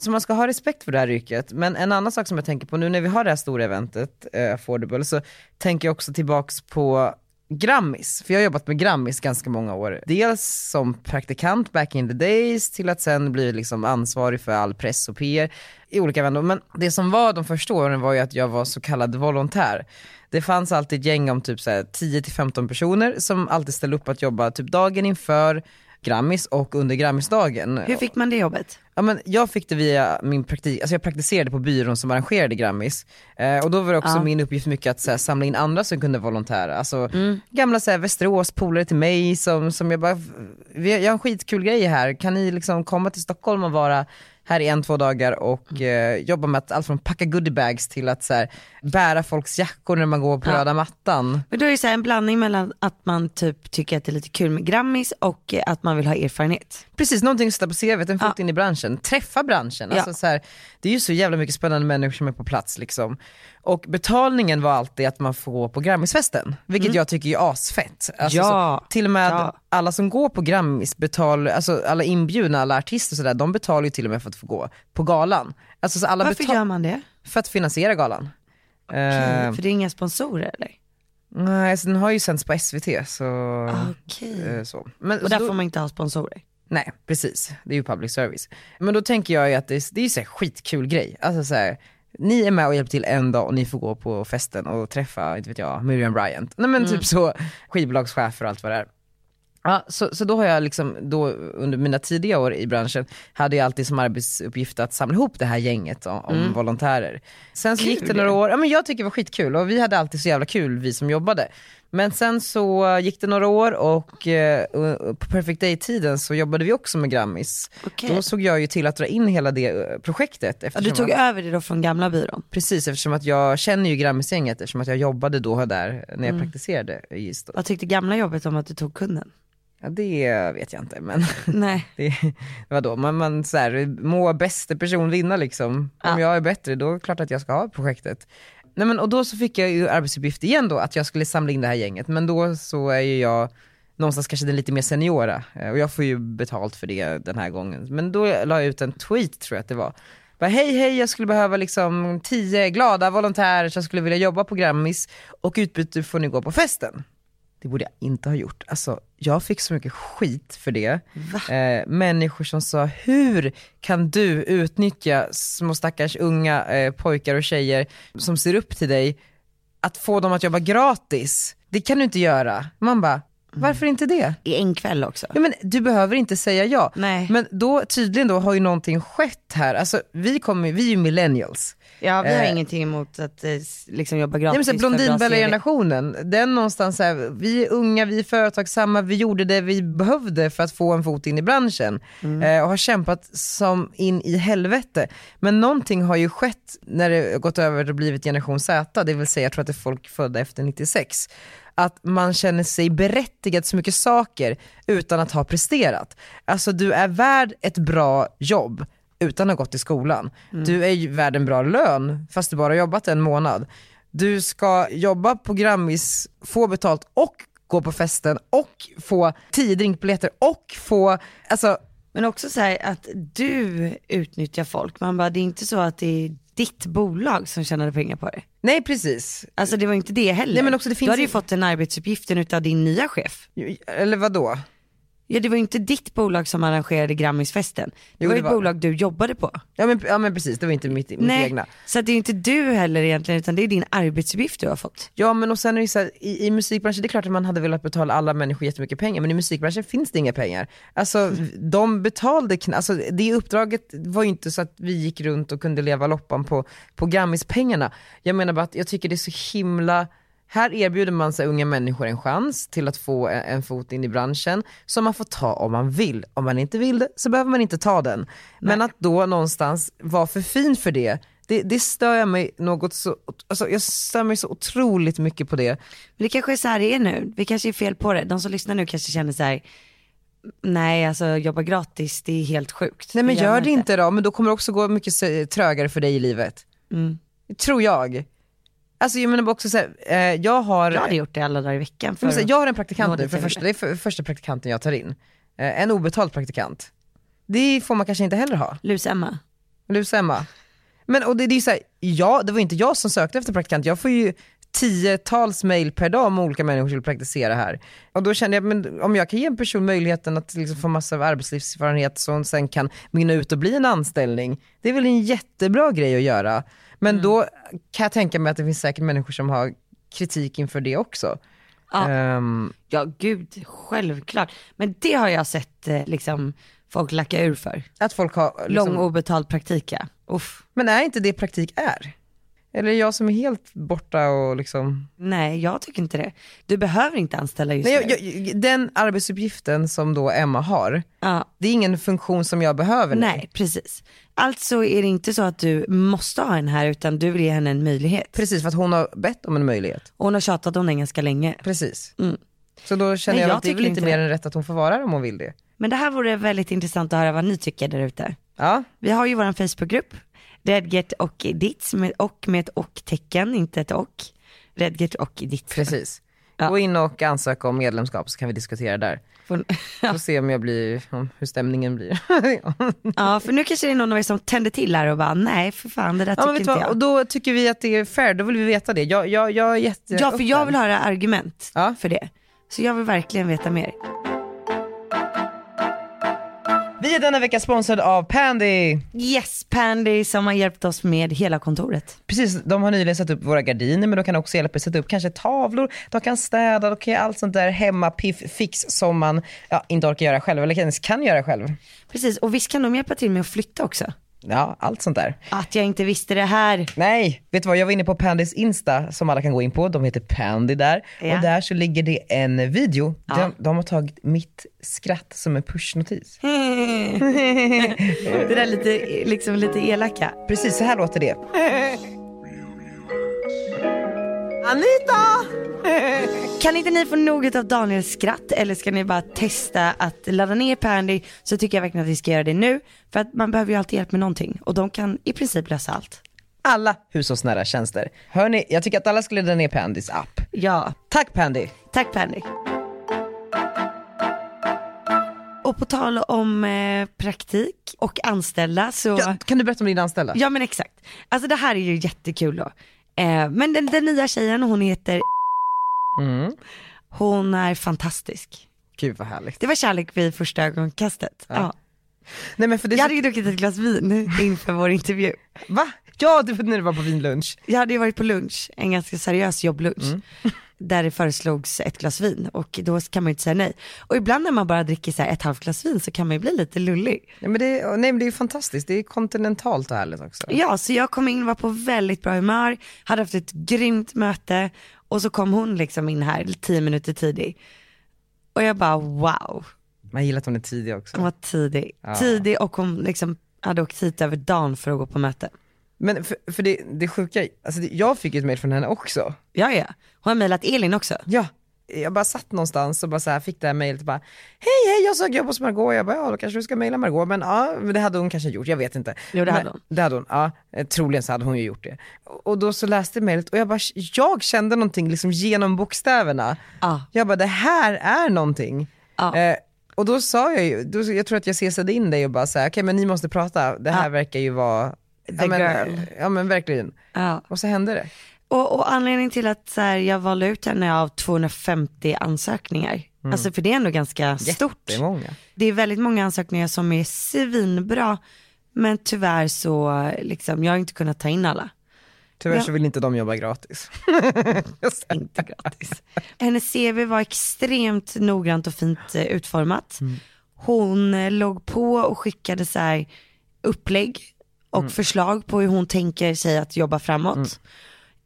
Speaker 1: Så man ska ha respekt för det här yrket. Men en annan sak som jag tänker på nu när vi har det här stora eventet, eh, Affordable, så tänker jag också tillbaks på Grammis, för jag har jobbat med Grammis ganska många år. Dels som praktikant back in the days till att sen bli liksom ansvarig för all press och PR i olika vändor. Men det som var de första åren var ju att jag var så kallad volontär. Det fanns alltid ett gäng om typ så här 10-15 personer som alltid ställde upp att jobba typ dagen inför Grammis och under Grammisdagen.
Speaker 2: Hur fick man det jobbet?
Speaker 1: Ja, men jag fick det via min praktik, alltså jag praktiserade på byrån som arrangerade Grammis. Eh, och då var det också
Speaker 2: Ja.
Speaker 1: min uppgift mycket att så här, samla in andra som kunde volontära. Alltså
Speaker 2: Mm.
Speaker 1: gamla så här, Västerås, polare till mig som, som jag bara, vi, jag har en skitkul grej här, kan ni liksom komma till Stockholm och vara här i en, två dagar och
Speaker 2: Mm.
Speaker 1: eh, jobba med att, allt från packa goodiebags till att så här, bära folks jackor när man går på
Speaker 2: Ja.
Speaker 1: röda mattan.
Speaker 2: Men då är det så här en blandning mellan att man typ tycker att det är lite kul med Grammis och eh, att man vill ha erfarenhet.
Speaker 1: Precis, någonting att sitta på CVt, en fot in i branschen, träffa branschen. Alltså,
Speaker 2: Ja.
Speaker 1: så här, det är ju så jävla mycket spännande människor som är på plats liksom. Och betalningen var alltid att man får gå på Grammisfesten, vilket jag tycker är asfett. Alltså,
Speaker 2: Mm. Ja.
Speaker 1: så, till och med
Speaker 2: Ja.
Speaker 1: alla som går på Grammis, betal, alltså, alla inbjudna, alla artister och sådär, de betalar ju till och med för att få gå på galan. Alltså, så alla
Speaker 2: Varför
Speaker 1: betal-
Speaker 2: gör man det?
Speaker 1: för att finansiera galan. Eh,
Speaker 2: För det är inga sponsorer eller?
Speaker 1: nej, alltså, den har ju sänds på SVT så...
Speaker 2: Okej.
Speaker 1: eh, så. Men,
Speaker 2: Ah. Och
Speaker 1: så
Speaker 2: där
Speaker 1: då-
Speaker 2: får man inte ha sponsorer.
Speaker 1: Nej, precis. Det är ju public service. Men då tänker jag ju att det är, det är ju så här skitkul grej. Alltså så här, ni är med och hjälper till en dag och ni får gå på festen och träffa, inte vet jag, Miriam Bryant. Nej men typ så, skivbolagschefer och allt vad det är. Ja, så, så då har jag liksom, då under mina tidiga år i branschen, hade jag alltid som arbetsuppgift att samla ihop det här gänget om, om volontärer. Sen så gick det
Speaker 2: Mm. Kul.
Speaker 1: några år, ja men jag tycker det var skitkul och vi hade alltid så jävla kul vi som jobbade. Men sen så gick det några år och eh, och på Perfect Day-tiden så jobbade vi också med Grammis.
Speaker 2: Okej.
Speaker 1: Då såg jag ju till att dra in hela det eh, projektet.
Speaker 2: Ja,
Speaker 1: Eftersom
Speaker 2: du tog
Speaker 1: att,
Speaker 2: över det då från gamla byrån?
Speaker 1: precis, eftersom att jag känner ju Grammisgänget eftersom att jag jobbade då och där när
Speaker 2: Mm.
Speaker 1: jag praktiserade i Sto-
Speaker 2: Vad tyckte gamla jobbet om att du tog kunden?
Speaker 1: Ja, det vet jag inte men.
Speaker 2: Nej.
Speaker 1: Det, vadå, man, man så här, må bäste person vinna liksom. Om
Speaker 2: Ja.
Speaker 1: jag är bättre, då är det klart att jag ska ha projektet. Nej, men, och då så fick jag ju arbetsuppgift igen då, att jag skulle samla in det här gänget. Men då så är ju jag någonstans kanske den lite mer seniora. eh, Och jag får ju betalt för det den här gången. Men då la jag ut en tweet tror jag att det var. Bara, hej hej, jag skulle behöva liksom tio glada volontärer som skulle vilja jobba på Grammis. Och i utbyte får ni gå på festen. Det borde jag inte ha gjort. Alltså, jag fick så mycket skit för det. Eh, människor som sa, hur kan du utnyttja små stackars unga eh, pojkar och tjejer som ser upp till dig, att få dem att jobba gratis? Det kan du inte göra. Man bara, varför inte det?
Speaker 2: I en kväll också?
Speaker 1: Ja, men du behöver inte säga ja.
Speaker 2: Nej.
Speaker 1: Men då, tydligen då har ju någonting skett här. Alltså, vi, kommer, vi är ju millennials.
Speaker 2: Ja vi har
Speaker 1: Eh.
Speaker 2: ingenting emot att eh, s- liksom jobba gratis.
Speaker 1: Nej, men så här,
Speaker 2: för bra CV.
Speaker 1: Blondinbella-generationen, den någonstans så här, vi är unga, vi är företagsamma, vi gjorde det vi behövde för att få en fot in i branschen eh, och har kämpat som in i helvete. Men någonting har ju skett när det gått över och blivit generation Z, det vill säga jag tror att det är folk födda efter 96, att man känner sig berättigad till så mycket saker utan att ha presterat. Alltså du är värd ett bra jobb utan att ha gått i skolan. Du är ju värd en bra lön fast du bara har jobbat en månad. Du ska jobba på Grammis, få betalt och gå på festen och få tio drinkbiljetter och få, alltså
Speaker 2: Men också så här att du utnyttjar folk. Man bara det är inte så att det är ditt bolag som tjänade pengar på det.
Speaker 1: nej precis.
Speaker 2: Alltså det var inte det heller.
Speaker 1: Nej, men också det finns
Speaker 2: du hade ju
Speaker 1: ju-
Speaker 2: fått den arbetsuppgiften utav din nya chef.
Speaker 1: Eller vadå?
Speaker 2: Ja det var ju inte ditt bolag som arrangerade Grammisfesten. Det
Speaker 1: Jo,
Speaker 2: var
Speaker 1: det
Speaker 2: ju ett
Speaker 1: var-
Speaker 2: bolag du jobbade på.
Speaker 1: Ja men, ja, men precis, det var inte mitt, mitt egna.
Speaker 2: så att det är ju inte du heller egentligen utan det är din arbetsuppgift du har fått.
Speaker 1: Ja men och sen är det så här, i, i musikbranschen, det är klart att man hade velat betala alla människor jättemycket pengar, men i musikbranschen finns det inga pengar. Alltså de betalade kn- alltså det uppdraget var ju inte så att vi gick runt och kunde leva loppan på, på Grammispengarna. Jag menar bara att jag tycker det är så himla här erbjuder man sig unga människor en chans till att få en, en fot in i branschen som man får ta om man vill. Om man inte vill det så behöver man inte ta den. Men att då någonstans vara för fin för det, det, det stör jag mig något så, alltså jag stör mig så otroligt mycket på det.
Speaker 2: Men det kanske är så här det är nu. Vi kanske är fel på det. De som lyssnar nu kanske känner så här. Nej alltså jobba gratis det är helt sjukt.
Speaker 1: Nej men
Speaker 2: gör
Speaker 1: gör
Speaker 2: man Mm.
Speaker 1: det inte då, men då kommer det också gå mycket se- trögare för dig i livet. Tror jag. Alltså jag menar bara också såhär, eh, jag har...
Speaker 2: Jag hade gjort det alla dagar i veckan.
Speaker 1: Men så
Speaker 2: För...
Speaker 1: här, jag har en praktikant
Speaker 2: Nådde
Speaker 1: nu, för
Speaker 2: till
Speaker 1: första, det är för, första praktikanten jag tar in. Eh, en obetald praktikant. Det får man kanske inte heller ha.
Speaker 2: Lus-Emma.
Speaker 1: Lusa Emma. Men och det, det är ju såhär, ja, det var inte jag som sökte efter praktikant, jag får ju tiotals mail per dag om olika människor som vill praktisera här. Och då kände jag, men om jag kan ge en person möjligheten att liksom få massa av arbetslivserfarenhet så hon sen kan mynna ut och bli en anställning, det är väl en jättebra grej att göra. Men då kan jag tänka mig att det finns säkert människor som har kritik inför det också.
Speaker 2: Ja.
Speaker 1: Ehm,
Speaker 2: Ja gud, självklart. Men det har jag sett eh, liksom folk lacka ur för.
Speaker 1: att folk har...
Speaker 2: Lång
Speaker 1: liksom-
Speaker 2: obetald praktika. Uff.
Speaker 1: Men är inte det praktik är? Eller är jag som är helt borta och liksom...
Speaker 2: Nej jag tycker inte det. Du behöver inte anställa just
Speaker 1: Nej,
Speaker 2: nu.
Speaker 1: jag, jag, den arbetsuppgiften som då Emma har,
Speaker 2: Ja.
Speaker 1: det är ingen funktion som jag behöver nu.
Speaker 2: Nej precis. Alltså är det inte så att du måste ha en här utan du vill ge henne en möjlighet.
Speaker 1: Precis, för att hon har bett om en möjlighet.
Speaker 2: Och hon har tjatat om den ganska länge.
Speaker 1: Premer.
Speaker 2: Mm.
Speaker 1: Så då känner
Speaker 2: Nej,
Speaker 1: jag,
Speaker 2: jag
Speaker 1: att det är väl
Speaker 2: tycker
Speaker 1: inte
Speaker 2: inte
Speaker 1: mer
Speaker 2: det.
Speaker 1: än rätt att hon får vara här om hon vill det.
Speaker 2: Men det här vore väldigt intressant att höra vad ni tycker där ute.
Speaker 1: Ja,
Speaker 2: Vi har ju vår Facebookgrupp, Redgert och Ditts, med, och med ett och-tecken, inte ett och. Redgert och Ditts.
Speaker 1: precis.
Speaker 2: Ja.
Speaker 1: Gå in och ansök om medlemskap så kan vi diskutera där.
Speaker 2: Får-
Speaker 1: Får se om jag blir, om hur stämningen blir.
Speaker 2: Ja, för nu kanske det är någon av er som tände till här och bara, nej för fan det där
Speaker 1: ja, men
Speaker 2: tycker
Speaker 1: vet
Speaker 2: inte
Speaker 1: du vad?
Speaker 2: jag.
Speaker 1: Och då tycker vi att det är fair, då vill vi veta det. Jag, jag, jag är jätte
Speaker 2: Ja, för jag
Speaker 1: öppen.
Speaker 2: vill höra argument
Speaker 1: Ja.
Speaker 2: för det. Så jag vill verkligen veta mer.
Speaker 1: Vi är denna vecka sponsrade av Pandy.
Speaker 2: Yes, Pandy som har hjälpt oss med hela kontoret.
Speaker 1: Precis, de har nyligen satt upp våra gardiner men de kan också hjälpa er att sätta upp kanske tavlor, de kan städa, de kan göra allt sånt där hemma, piff, fix som man ja, inte orkar göra själv eller ens kan göra själv.
Speaker 2: Precis, och visst kan de hjälpa till med att flytta också?
Speaker 1: Ja, allt sånt där.
Speaker 2: Att jag inte visste det här.
Speaker 1: Nej, vet du vad? Jag var inne på Pandys Insta som alla kan gå in på. De heter Pandy där.
Speaker 2: Ja.
Speaker 1: Och där så ligger det en video.
Speaker 2: Ja.
Speaker 1: De, de har tagit mitt skratt som en pushnotis.
Speaker 2: Det där lite, liksom lite elaka.
Speaker 1: Precis, så här låter det. Anita!
Speaker 2: Kan inte ni få något av Daniels skratt eller ska ni bara testa att ladda ner Pandy så tycker jag verkligen att vi ska göra det nu. För att man behöver ju alltid hjälp med någonting och de kan i princip lösa allt.
Speaker 1: Alla hushållsnära tjänster. Hörni, jag tycker att alla skulle ladda ner Pandys app.
Speaker 2: Ja,
Speaker 1: Tack Pandy!
Speaker 2: tack Pandy. Och på tal om eh, praktik och anställda så
Speaker 1: Ja, kan du berätta om din anställda?
Speaker 2: Ja men exakt. Alltså det här är ju jättekul då. Eh, men den, den nya tjejen, hon heter,
Speaker 1: Mm.
Speaker 2: hon är fantastisk.
Speaker 1: Gud vad härligt.
Speaker 2: Det var kärlek vid första ögonkastet.
Speaker 1: Ja.
Speaker 2: Ja.
Speaker 1: Nej men för det
Speaker 2: Jag
Speaker 1: är
Speaker 2: hade ju druckit ett glas vin inför vår intervju.
Speaker 1: så... Va? Ja, det var när du var på vinlunch.
Speaker 2: Jag hade ju varit på lunch, en ganska seriös jobblunch,
Speaker 1: Mm.
Speaker 2: där det föreslogs ett glas vin och då kan man ju inte säga nej. Och ibland när man bara dricker så här ett halvt glas vin så kan man ju bli lite lullig.
Speaker 1: Nej men det, nej, men det är ju fantastiskt, det är kontinentalt och härligt också.
Speaker 2: Ja, så jag kom in, var på väldigt bra humör, hade haft ett grymt möte och så kom hon liksom in här tio minuter tidig. Och jag bara wow,
Speaker 1: Man gillar att hon är tidig också.
Speaker 2: hon var tidig.
Speaker 1: Ja.
Speaker 2: Tidig och hon liksom hade åkt hit över dagen för att gå på möte.
Speaker 1: Men för, för det, det sjuka, alltså det, jag fick ju ett mejl från henne också.
Speaker 2: Ja, ja. Hon har mejlat Elin också.
Speaker 1: Ja. Jag bara satt någonstans och bara så här fick det här mejlet och bara Hej hej jag söker jobb hos Margot jag bara ja då kanske du ska mejla Margot men ja men det hade hon kanske gjort, jag vet inte.
Speaker 2: Jo, det
Speaker 1: men,
Speaker 2: hade hon.
Speaker 1: Det hade hon, ja eh, troligen så hade hon ju gjort det. Och och då så läste jag mejlet och jag bara, jag kände någonting liksom genom bokstäverna.
Speaker 2: Ja.
Speaker 1: Jag bara det här är någonting.
Speaker 2: Ja.
Speaker 1: Eh, och då sa jag ju, då, jag tror att jag cesade in dig och bara såhär, okej men ni måste prata, det här
Speaker 2: Ja.
Speaker 1: verkar ju vara
Speaker 2: The
Speaker 1: ja, men,
Speaker 2: girl.
Speaker 1: Ja men verkligen.
Speaker 2: Ja.
Speaker 1: Och så hände det.
Speaker 2: Och, och anledningen till att så här, jag valde ut henne av 250 ansökningar, alltså för det är ändå ganska stort.
Speaker 1: Jättemånga.
Speaker 2: Det är väldigt många ansökningar som är svinbra, men tyvärr så liksom, jag har inte kunnat ta in alla.
Speaker 1: Tyvärr
Speaker 2: Ja.
Speaker 1: så vill inte de jobba gratis.
Speaker 2: Inte gratis. Hennes CV var extremt noggrant och fint eh, utformat. Hon eh, låg på och skickade så här upplägg och förslag på hur hon tänker sig att jobba framåt.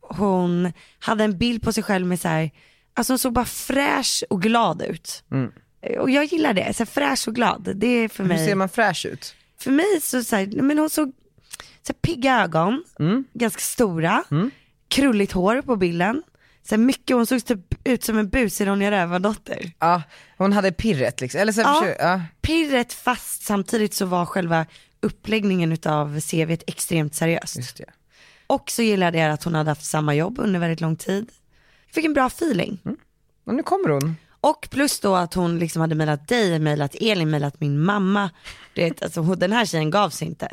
Speaker 2: Hon hade en bild på sig själv med så här, alltså hon såg bara fräsch och glad ut. Eh, Och jag gillar det, så här, fräsch och glad. Det är för
Speaker 1: Hur
Speaker 2: mig
Speaker 1: ser man fräsch ut?
Speaker 2: för mig så, så här, men hon såg så här, pigga ögon,
Speaker 1: Mm.
Speaker 2: ganska stora, krulligt hår på bilden. Så här, mycket, hon såg typ ut som en busig Ronja Rövardotter.
Speaker 1: Ja, hon hade pirret liksom. Eller så här,
Speaker 2: Ja.
Speaker 1: försö- ja.
Speaker 2: Pirret fast samtidigt så var själva uppläggningen utav CVt extremt seriöst.
Speaker 1: just det.
Speaker 2: Och så gillade jag att hon hade haft samma jobb under väldigt lång tid. Jag fick en bra feeling.
Speaker 1: Mm. Och nu kommer hon.
Speaker 2: Och plus då att hon liksom hade mejlat dig, mejlat Elin, mejlat min mamma. Du vet, alltså, hon- den här tjejen gav sig inte.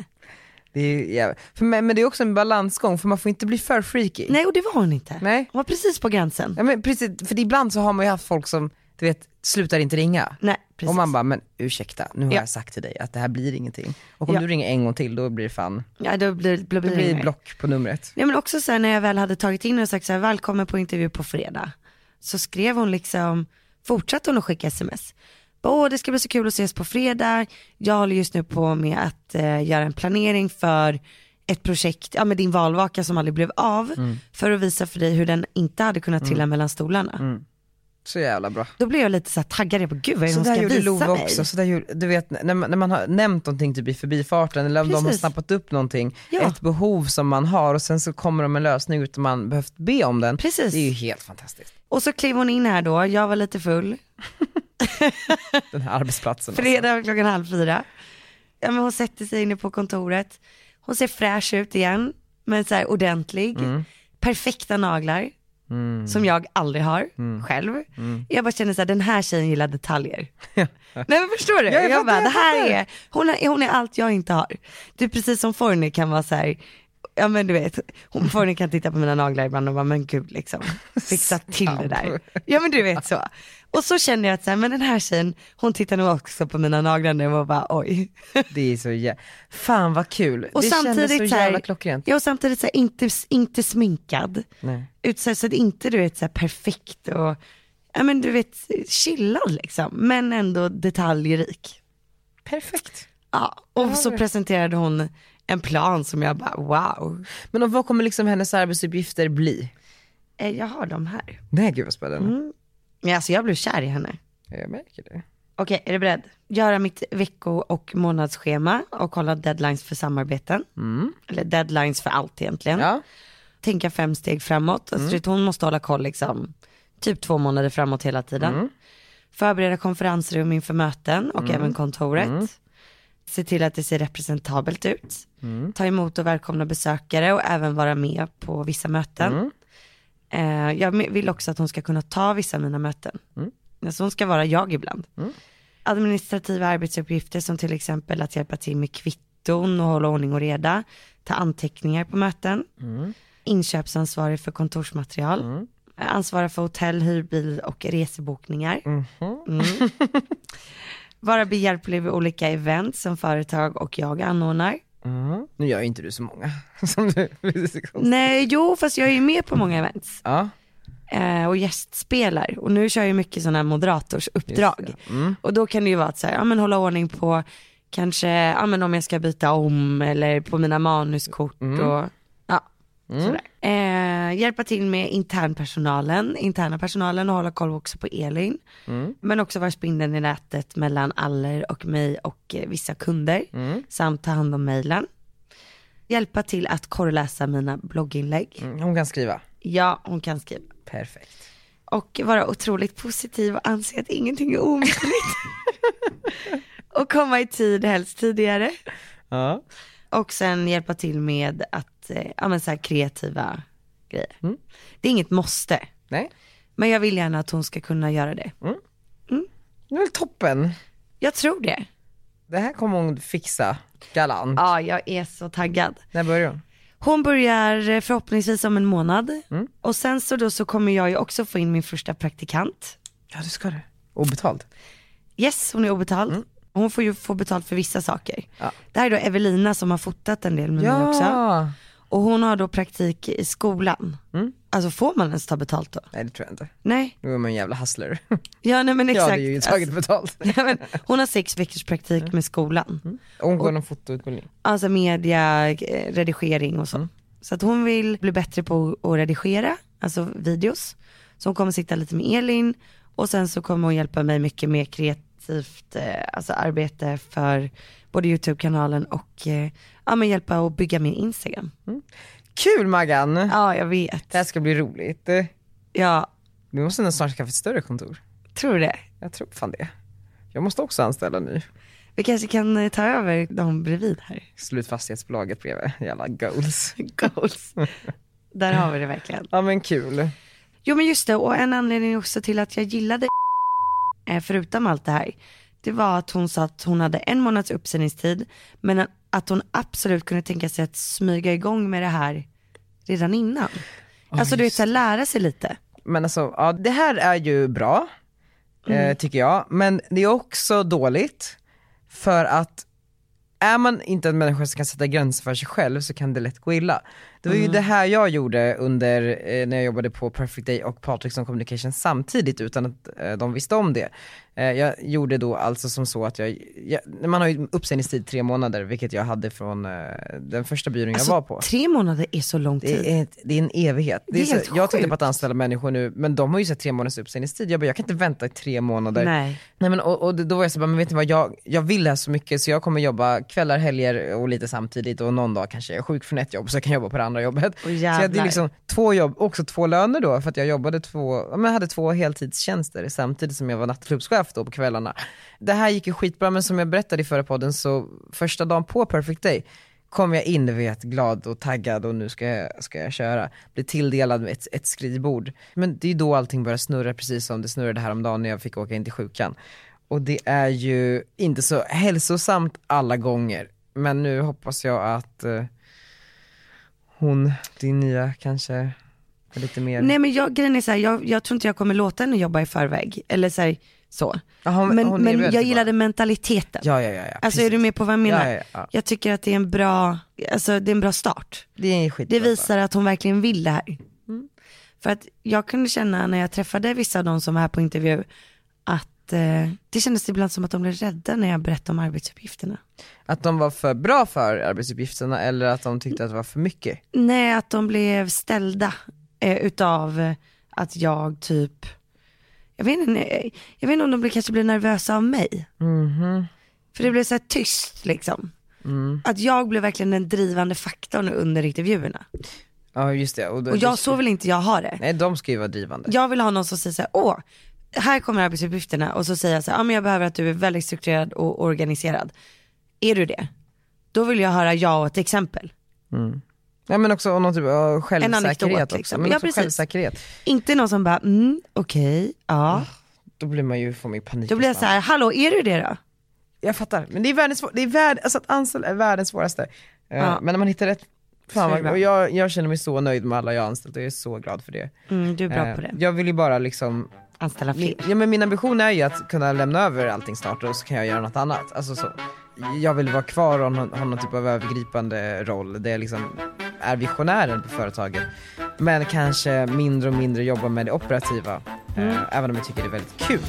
Speaker 1: Det är, ju jävla- för mig, men det är också en balansgång för man får inte bli för freaky.
Speaker 2: Nej och det var hon inte.
Speaker 1: Nej.
Speaker 2: Hon var precis på gränsen.
Speaker 1: Ja, men precis, för ibland så har man ju haft folk som, du vet, slutar inte ringa.
Speaker 2: Nej precis.
Speaker 1: Och man bara, men ursäkta, nu har
Speaker 2: Ja.
Speaker 1: jag sagt till dig att det här blir ingenting. Och om
Speaker 2: Ja.
Speaker 1: du ringer en gång till, då blir det fan,
Speaker 2: ja, då blir, blir,
Speaker 1: det blir block på numret.
Speaker 2: Nej men också så här, när jag väl hade tagit in och sagt så här, välkommen på intervju på fredag. Så skrev hon liksom, fortsatte hon att skicka sms. Bara, Åh det ska bli så kul att ses på fredag. Jag håller just nu på med att eh, göra en planering för ett projekt, ja med din valvaka som aldrig blev av.
Speaker 1: Mm.
Speaker 2: För att visa för dig hur den inte hade kunnat trilla mellan stolarna.
Speaker 1: Så jävla bra.
Speaker 2: Då blev jag lite så här taggad, jag bara gud vad är
Speaker 1: Mm.
Speaker 2: det
Speaker 1: Så
Speaker 2: hon
Speaker 1: där
Speaker 2: ska
Speaker 1: gjorde Love
Speaker 2: visa mig?
Speaker 1: också, så där gjorde, du vet när man, när man har nämnt någonting typ i förbifarten eller om de har
Speaker 2: Precis.
Speaker 1: snappat upp någonting,
Speaker 2: Ja.
Speaker 1: ett behov som man har och sen så kommer de med en lösning utan man behövt be om den.
Speaker 2: Precis.
Speaker 1: Det är ju helt fantastiskt,
Speaker 2: Och så klev hon in här då, jag var lite full,
Speaker 1: den här arbetsplatsen.
Speaker 2: fredag klockan halv fyra. Ja, men hon sätter sig inne på kontoret. Hon ser fräsch ut igen, men så här ordentlig. Perfekta naglar,
Speaker 1: Mm.
Speaker 2: som jag aldrig har själv. Jag bara känner så här, den här tjejen gillar detaljer. Nej men förstår du?
Speaker 1: Ja, jag
Speaker 2: jag bara,
Speaker 1: fattar,
Speaker 2: det
Speaker 1: jag fattar.
Speaker 2: här är, hon är, hon är allt jag inte har. Det är precis som Forni kan vara så här, ja men du vet, hon, Forni kan titta på mina naglar ibland och bara, men gud liksom, fixa till det där. Ja men du vet så. Och så känner jag att så här, men den här tjejen, hon tittar nog också på mina naglar nu och bara oj.
Speaker 1: Det är så jä... fan vad kul,
Speaker 2: Och
Speaker 1: det kändes så
Speaker 2: samtidigt så här-
Speaker 1: jävla klockrent.
Speaker 2: Ja och samtidigt så här, inte, inte sminkad,
Speaker 1: Nej.
Speaker 2: utsedd så att inte du vet så här perfekt och, ja men du vet, chillad liksom, men ändå detaljrik.
Speaker 1: Perfekt.
Speaker 2: Ja, och så presenterade hon en plan som jag bara wow,
Speaker 1: Men och vad kommer liksom hennes arbetsuppgifter bli?
Speaker 2: eh, jag har dem här.
Speaker 1: Nej gud vad spännande.
Speaker 2: Men alltså jag blev kär i henne.
Speaker 1: Jag märker det.
Speaker 2: Okej, är du beredd? Göra mitt vecko och månadsschema och kolla deadlines för samarbeten. Eller deadlines för allt egentligen.
Speaker 1: Ja.
Speaker 2: Tänka fem steg framåt. Alltså, du vet, hon måste hålla koll liksom, typ två månader framåt hela tiden. Förbereda konferensrum inför möten och även kontoret. Se till att det ser representabelt ut. Ta emot och välkomna besökare och även vara med på vissa möten. Eh, jag me- vill också att hon ska kunna ta vissa av mina möten. Alltså hon ska vara jag ibland. Administrativa arbetsuppgifter som till exempel att hjälpa till med kvitton och hålla ordning och reda. Ta anteckningar på möten. Inköpsansvarig för kontorsmaterial. Ansvara för hotell, hyrbil och resebokningar. Mm. Vara behjälplig vid olika event som företag och jag anordnar.
Speaker 1: Mm. Nu gör ju inte du så många som du
Speaker 2: Nej, jo fast jag är ju med på många events.
Speaker 1: Ja,
Speaker 2: eh, och gästspelar. Och nu kör jag ju mycket sådana här moderatorsuppdrag. Och då kan det ju vara att så här, ja, men hålla ordning på kanske ja, men om jag ska byta om eller på mina manuskort och ja, sådär. Eh, hjälpa till med internpersonalen, interna personalen och hålla koll också på Elin. Men också vara spindeln i nätet mellan Aller och mig och eh, vissa kunder. Samt ta hand om mejlen. Hjälpa till att korrläsa mina blogginlägg.
Speaker 1: Mm, hon kan skriva.
Speaker 2: Ja, hon kan skriva
Speaker 1: Perfekt.
Speaker 2: och vara otroligt positiv och anse att ingenting är omöjligt. och komma i tid, helst tidigare.
Speaker 1: Ja.
Speaker 2: Och sen hjälpa till med att, eh, ja men så här kreativa grejer. Det är inget måste,
Speaker 1: Nej,
Speaker 2: men jag vill gärna att hon ska kunna göra det.
Speaker 1: det är väl toppen.
Speaker 2: Jag tror det.
Speaker 1: Det här kommer hon fixa galant.
Speaker 2: Ja, jag är så taggad.
Speaker 1: När börjar hon?
Speaker 2: Hon börjar eh, förhoppningsvis om en månad. Och sen så då så kommer jag ju också få in min första praktikant.
Speaker 1: Ja du ska det. Obetalt.
Speaker 2: Yes, hon är obetald. Hon får ju få betalt för vissa saker.
Speaker 1: Mm. Ja.
Speaker 2: Det här är då Evelina som har fotat en del med mig också.
Speaker 1: Ja.
Speaker 2: Och hon har då praktik i skolan.
Speaker 1: Mm.
Speaker 2: Alltså får man ens ta betalt då?
Speaker 1: Nej det tror jag inte.
Speaker 2: Nej.
Speaker 1: Nu är man en jävla hustler.
Speaker 2: Ja nej men
Speaker 1: Jag
Speaker 2: exakt.
Speaker 1: hade ju Mm. tagit betalt.
Speaker 2: Alltså, ja, men hon har sex veckors praktik med skolan.
Speaker 1: Hon går någon fotoutbildning.
Speaker 2: Alltså media, eh, redigering och så. Så att hon vill bli bättre på att redigera, alltså videos. Så hon kommer sitta lite med Elin och sen så kommer hon hjälpa mig mycket med kreativt eh, alltså arbete för både Youtube-kanalen och eh, ja, men hjälpa att bygga min Instagram.
Speaker 1: Kul Maggan!
Speaker 2: Ja jag
Speaker 1: Det
Speaker 2: vet.
Speaker 1: här ska bli roligt. Eh,
Speaker 2: Jag
Speaker 1: Vi måste nog snart skaffa ett större kontor.
Speaker 2: tror det.
Speaker 1: Jag tror fan det. Jag måste också anställa nu.
Speaker 2: Vi kanske kan eh, ta över dem bredvid här.
Speaker 1: Slut fastighetsbolaget bredvid, jävla goals.
Speaker 2: Goals. Där har vi det verkligen.
Speaker 1: Ja men kul.
Speaker 2: Jo men just det, och en anledning också till att jag gillade eh, förutom allt det här, det var att hon sa att hon hade en månads uppsägningstid, men att hon absolut kunde tänka sig att smyga igång med det här redan innan. alltså du vet, så här, lära sig lite.
Speaker 1: Men alltså, ja, det här är ju bra, eh, tycker jag. Men det är också dåligt, för att är man inte en människa som kan sätta gränser för sig själv så kan det lätt gå illa. Det var ju det här jag gjorde under, eh, när jag jobbade på Perfect Day och Patrickson Communication samtidigt utan att eh, de visste om det. Eh, jag gjorde då alltså som så att jag, jag man har ju uppsägningstid tre månader vilket jag hade från eh, den första byrån jag var på.
Speaker 2: Alltså, tre månader är så lång tid.
Speaker 1: Det är, ett- det är en evighet. Det är
Speaker 2: Typ. Det är helt
Speaker 1: så, jag tittar på
Speaker 2: sjukt.
Speaker 1: att anställa människor nu, men de har ju sett tre månaders uppsägningstid. Jag bara, jag kan inte vänta i tre månader.
Speaker 2: Nej.
Speaker 1: Nej, men, och, och då var jag så bara, men vet ni vad, jag, jag vill det här så mycket så jag kommer jobba kvällar, helger och lite samtidigt och någon dag kanske jag är sjuk från ett jobb så jag kan jobba på det andra jobbet.
Speaker 2: Åh,
Speaker 1: så jag hade
Speaker 2: jävlar.
Speaker 1: liksom två jobb, också två löner då för att jag jobbade två, ja, men jag hade två heltidstjänster samtidigt som jag var nattklubbschef då på kvällarna. Det här gick ju skitbra men som jag berättade i förra podden så första dagen på Perfect Day kom jag in du vet glad och taggad och nu ska jag, ska jag köra. Blir tilldelad ett, ett skrivbord. Men det är ju då allting börjar snurra precis som det snurrade häromdagen när jag fick åka in till sjukan. Och det är ju inte så hälsosamt alla gånger. Men nu hoppas jag att eh, hon, din nya kanske, är lite mer...
Speaker 2: Nej men jag, grejen är så här, jag, jag tror inte jag kommer låta henne jobba i förväg. Eller så. Här, så.
Speaker 1: Ja, hon-
Speaker 2: men
Speaker 1: hon är
Speaker 2: men
Speaker 1: väldigt
Speaker 2: jag
Speaker 1: bra.
Speaker 2: gillade mentaliteten.
Speaker 1: Ja, ja, ja. ja
Speaker 2: alltså är du med på vad jag menar?
Speaker 1: Ja, ja, ja.
Speaker 2: Jag tycker att det är en bra, alltså det är en bra start.
Speaker 1: Det är skitbra.
Speaker 2: Det visar att hon verkligen vill det här. För att jag kunde känna när jag träffade vissa av de som var här på intervju att eh, det kändes ibland som att de blev rädda när jag berättade om arbetsuppgifterna.
Speaker 1: Att de var för bra för arbetsuppgifterna eller att de tyckte att det var för mycket.
Speaker 2: Nej, att de blev ställda eh, utav eh, att jag typ, jag vet inte, eh, jag vet inte om de blev, kanske blev nervösa av mig. För det blev så här tyst liksom. Att jag blev verkligen den drivande faktorn under intervjuerna.
Speaker 1: Ja, just det. Och, då-
Speaker 2: Och jag, så vill inte jag ha det.
Speaker 1: Nej, de ska ju vara drivande.
Speaker 2: Jag vill ha någon som säger så här, åh, här kommer arbetsuppgifterna och så säger jag så här, ja men jag behöver att du är väldigt strukturerad och organiserad. Är du det? Då vill jag höra ja och ett exempel.
Speaker 1: Ja, men också och någon typ av självsäkerhet
Speaker 2: anekdot,
Speaker 1: också.
Speaker 2: liksom.
Speaker 1: Men
Speaker 2: Ja,
Speaker 1: också
Speaker 2: precis.
Speaker 1: självsäkerhet.
Speaker 2: Inte någon som bara, mm, okej, ja.
Speaker 1: Då blir man ju, får man ju panik.
Speaker 2: Då blir jag
Speaker 1: nästan.
Speaker 2: så här, hallå är du det då?
Speaker 1: Jag fattar, men det är världens svår- det är värld, alltså att anställa är världens svåraste. Eh,
Speaker 2: Ja.
Speaker 1: Men när man hittar rätt,
Speaker 2: Så är
Speaker 1: fan
Speaker 2: det
Speaker 1: vad,
Speaker 2: bra.
Speaker 1: och jag, jag känner mig så nöjd med alla jag har anställt och jag är så glad för det.
Speaker 2: Mm, du är bra
Speaker 1: Eh,
Speaker 2: på det.
Speaker 1: Jag vill ju bara liksom,
Speaker 2: Anställa
Speaker 1: min,
Speaker 2: fler.
Speaker 1: ja, men min ambition är ju att kunna lämna över allting snart och så kan jag göra något annat. Alltså så. Jag vill vara kvar och ha, ha någon typ av övergripande roll där jag liksom är visionären på företaget. Men kanske mindre och mindre jobba med det operativa. eh,
Speaker 2: Mm.
Speaker 1: Även om jag tycker det är väldigt kul.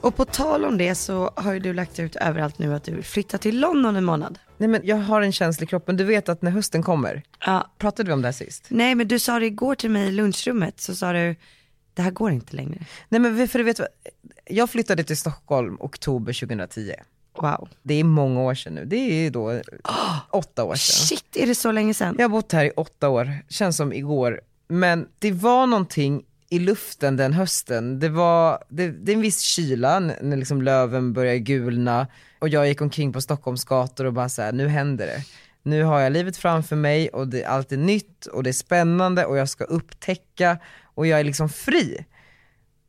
Speaker 2: Och på tal om det så har ju du lagt ut överallt nu att du vill flytta till London en månad.
Speaker 1: Nej men jag har en känslig kropp, men du vet att när hösten kommer,
Speaker 2: Ja.
Speaker 1: pratade vi om det här sist?
Speaker 2: Nej men du sa det igår till mig i lunchrummet så sa du, det här går inte längre.
Speaker 1: Nej men för du vet, vad? jag flyttade till Stockholm oktober 2010.
Speaker 2: Wow.
Speaker 1: Det är många år sedan nu, det är då åtta år sedan.
Speaker 2: Shit är det så länge sedan?
Speaker 1: Jag har bott här i åtta år, känns som igår. Men det var någonting i luften den hösten. Det var, det, det är en viss kyla n- när liksom löven börjar gulna och jag gick omkring på Stockholms gator och bara så här, nu händer det. Nu har jag livet framför mig och det, allt är nytt och det är spännande och jag ska upptäcka och jag är liksom fri.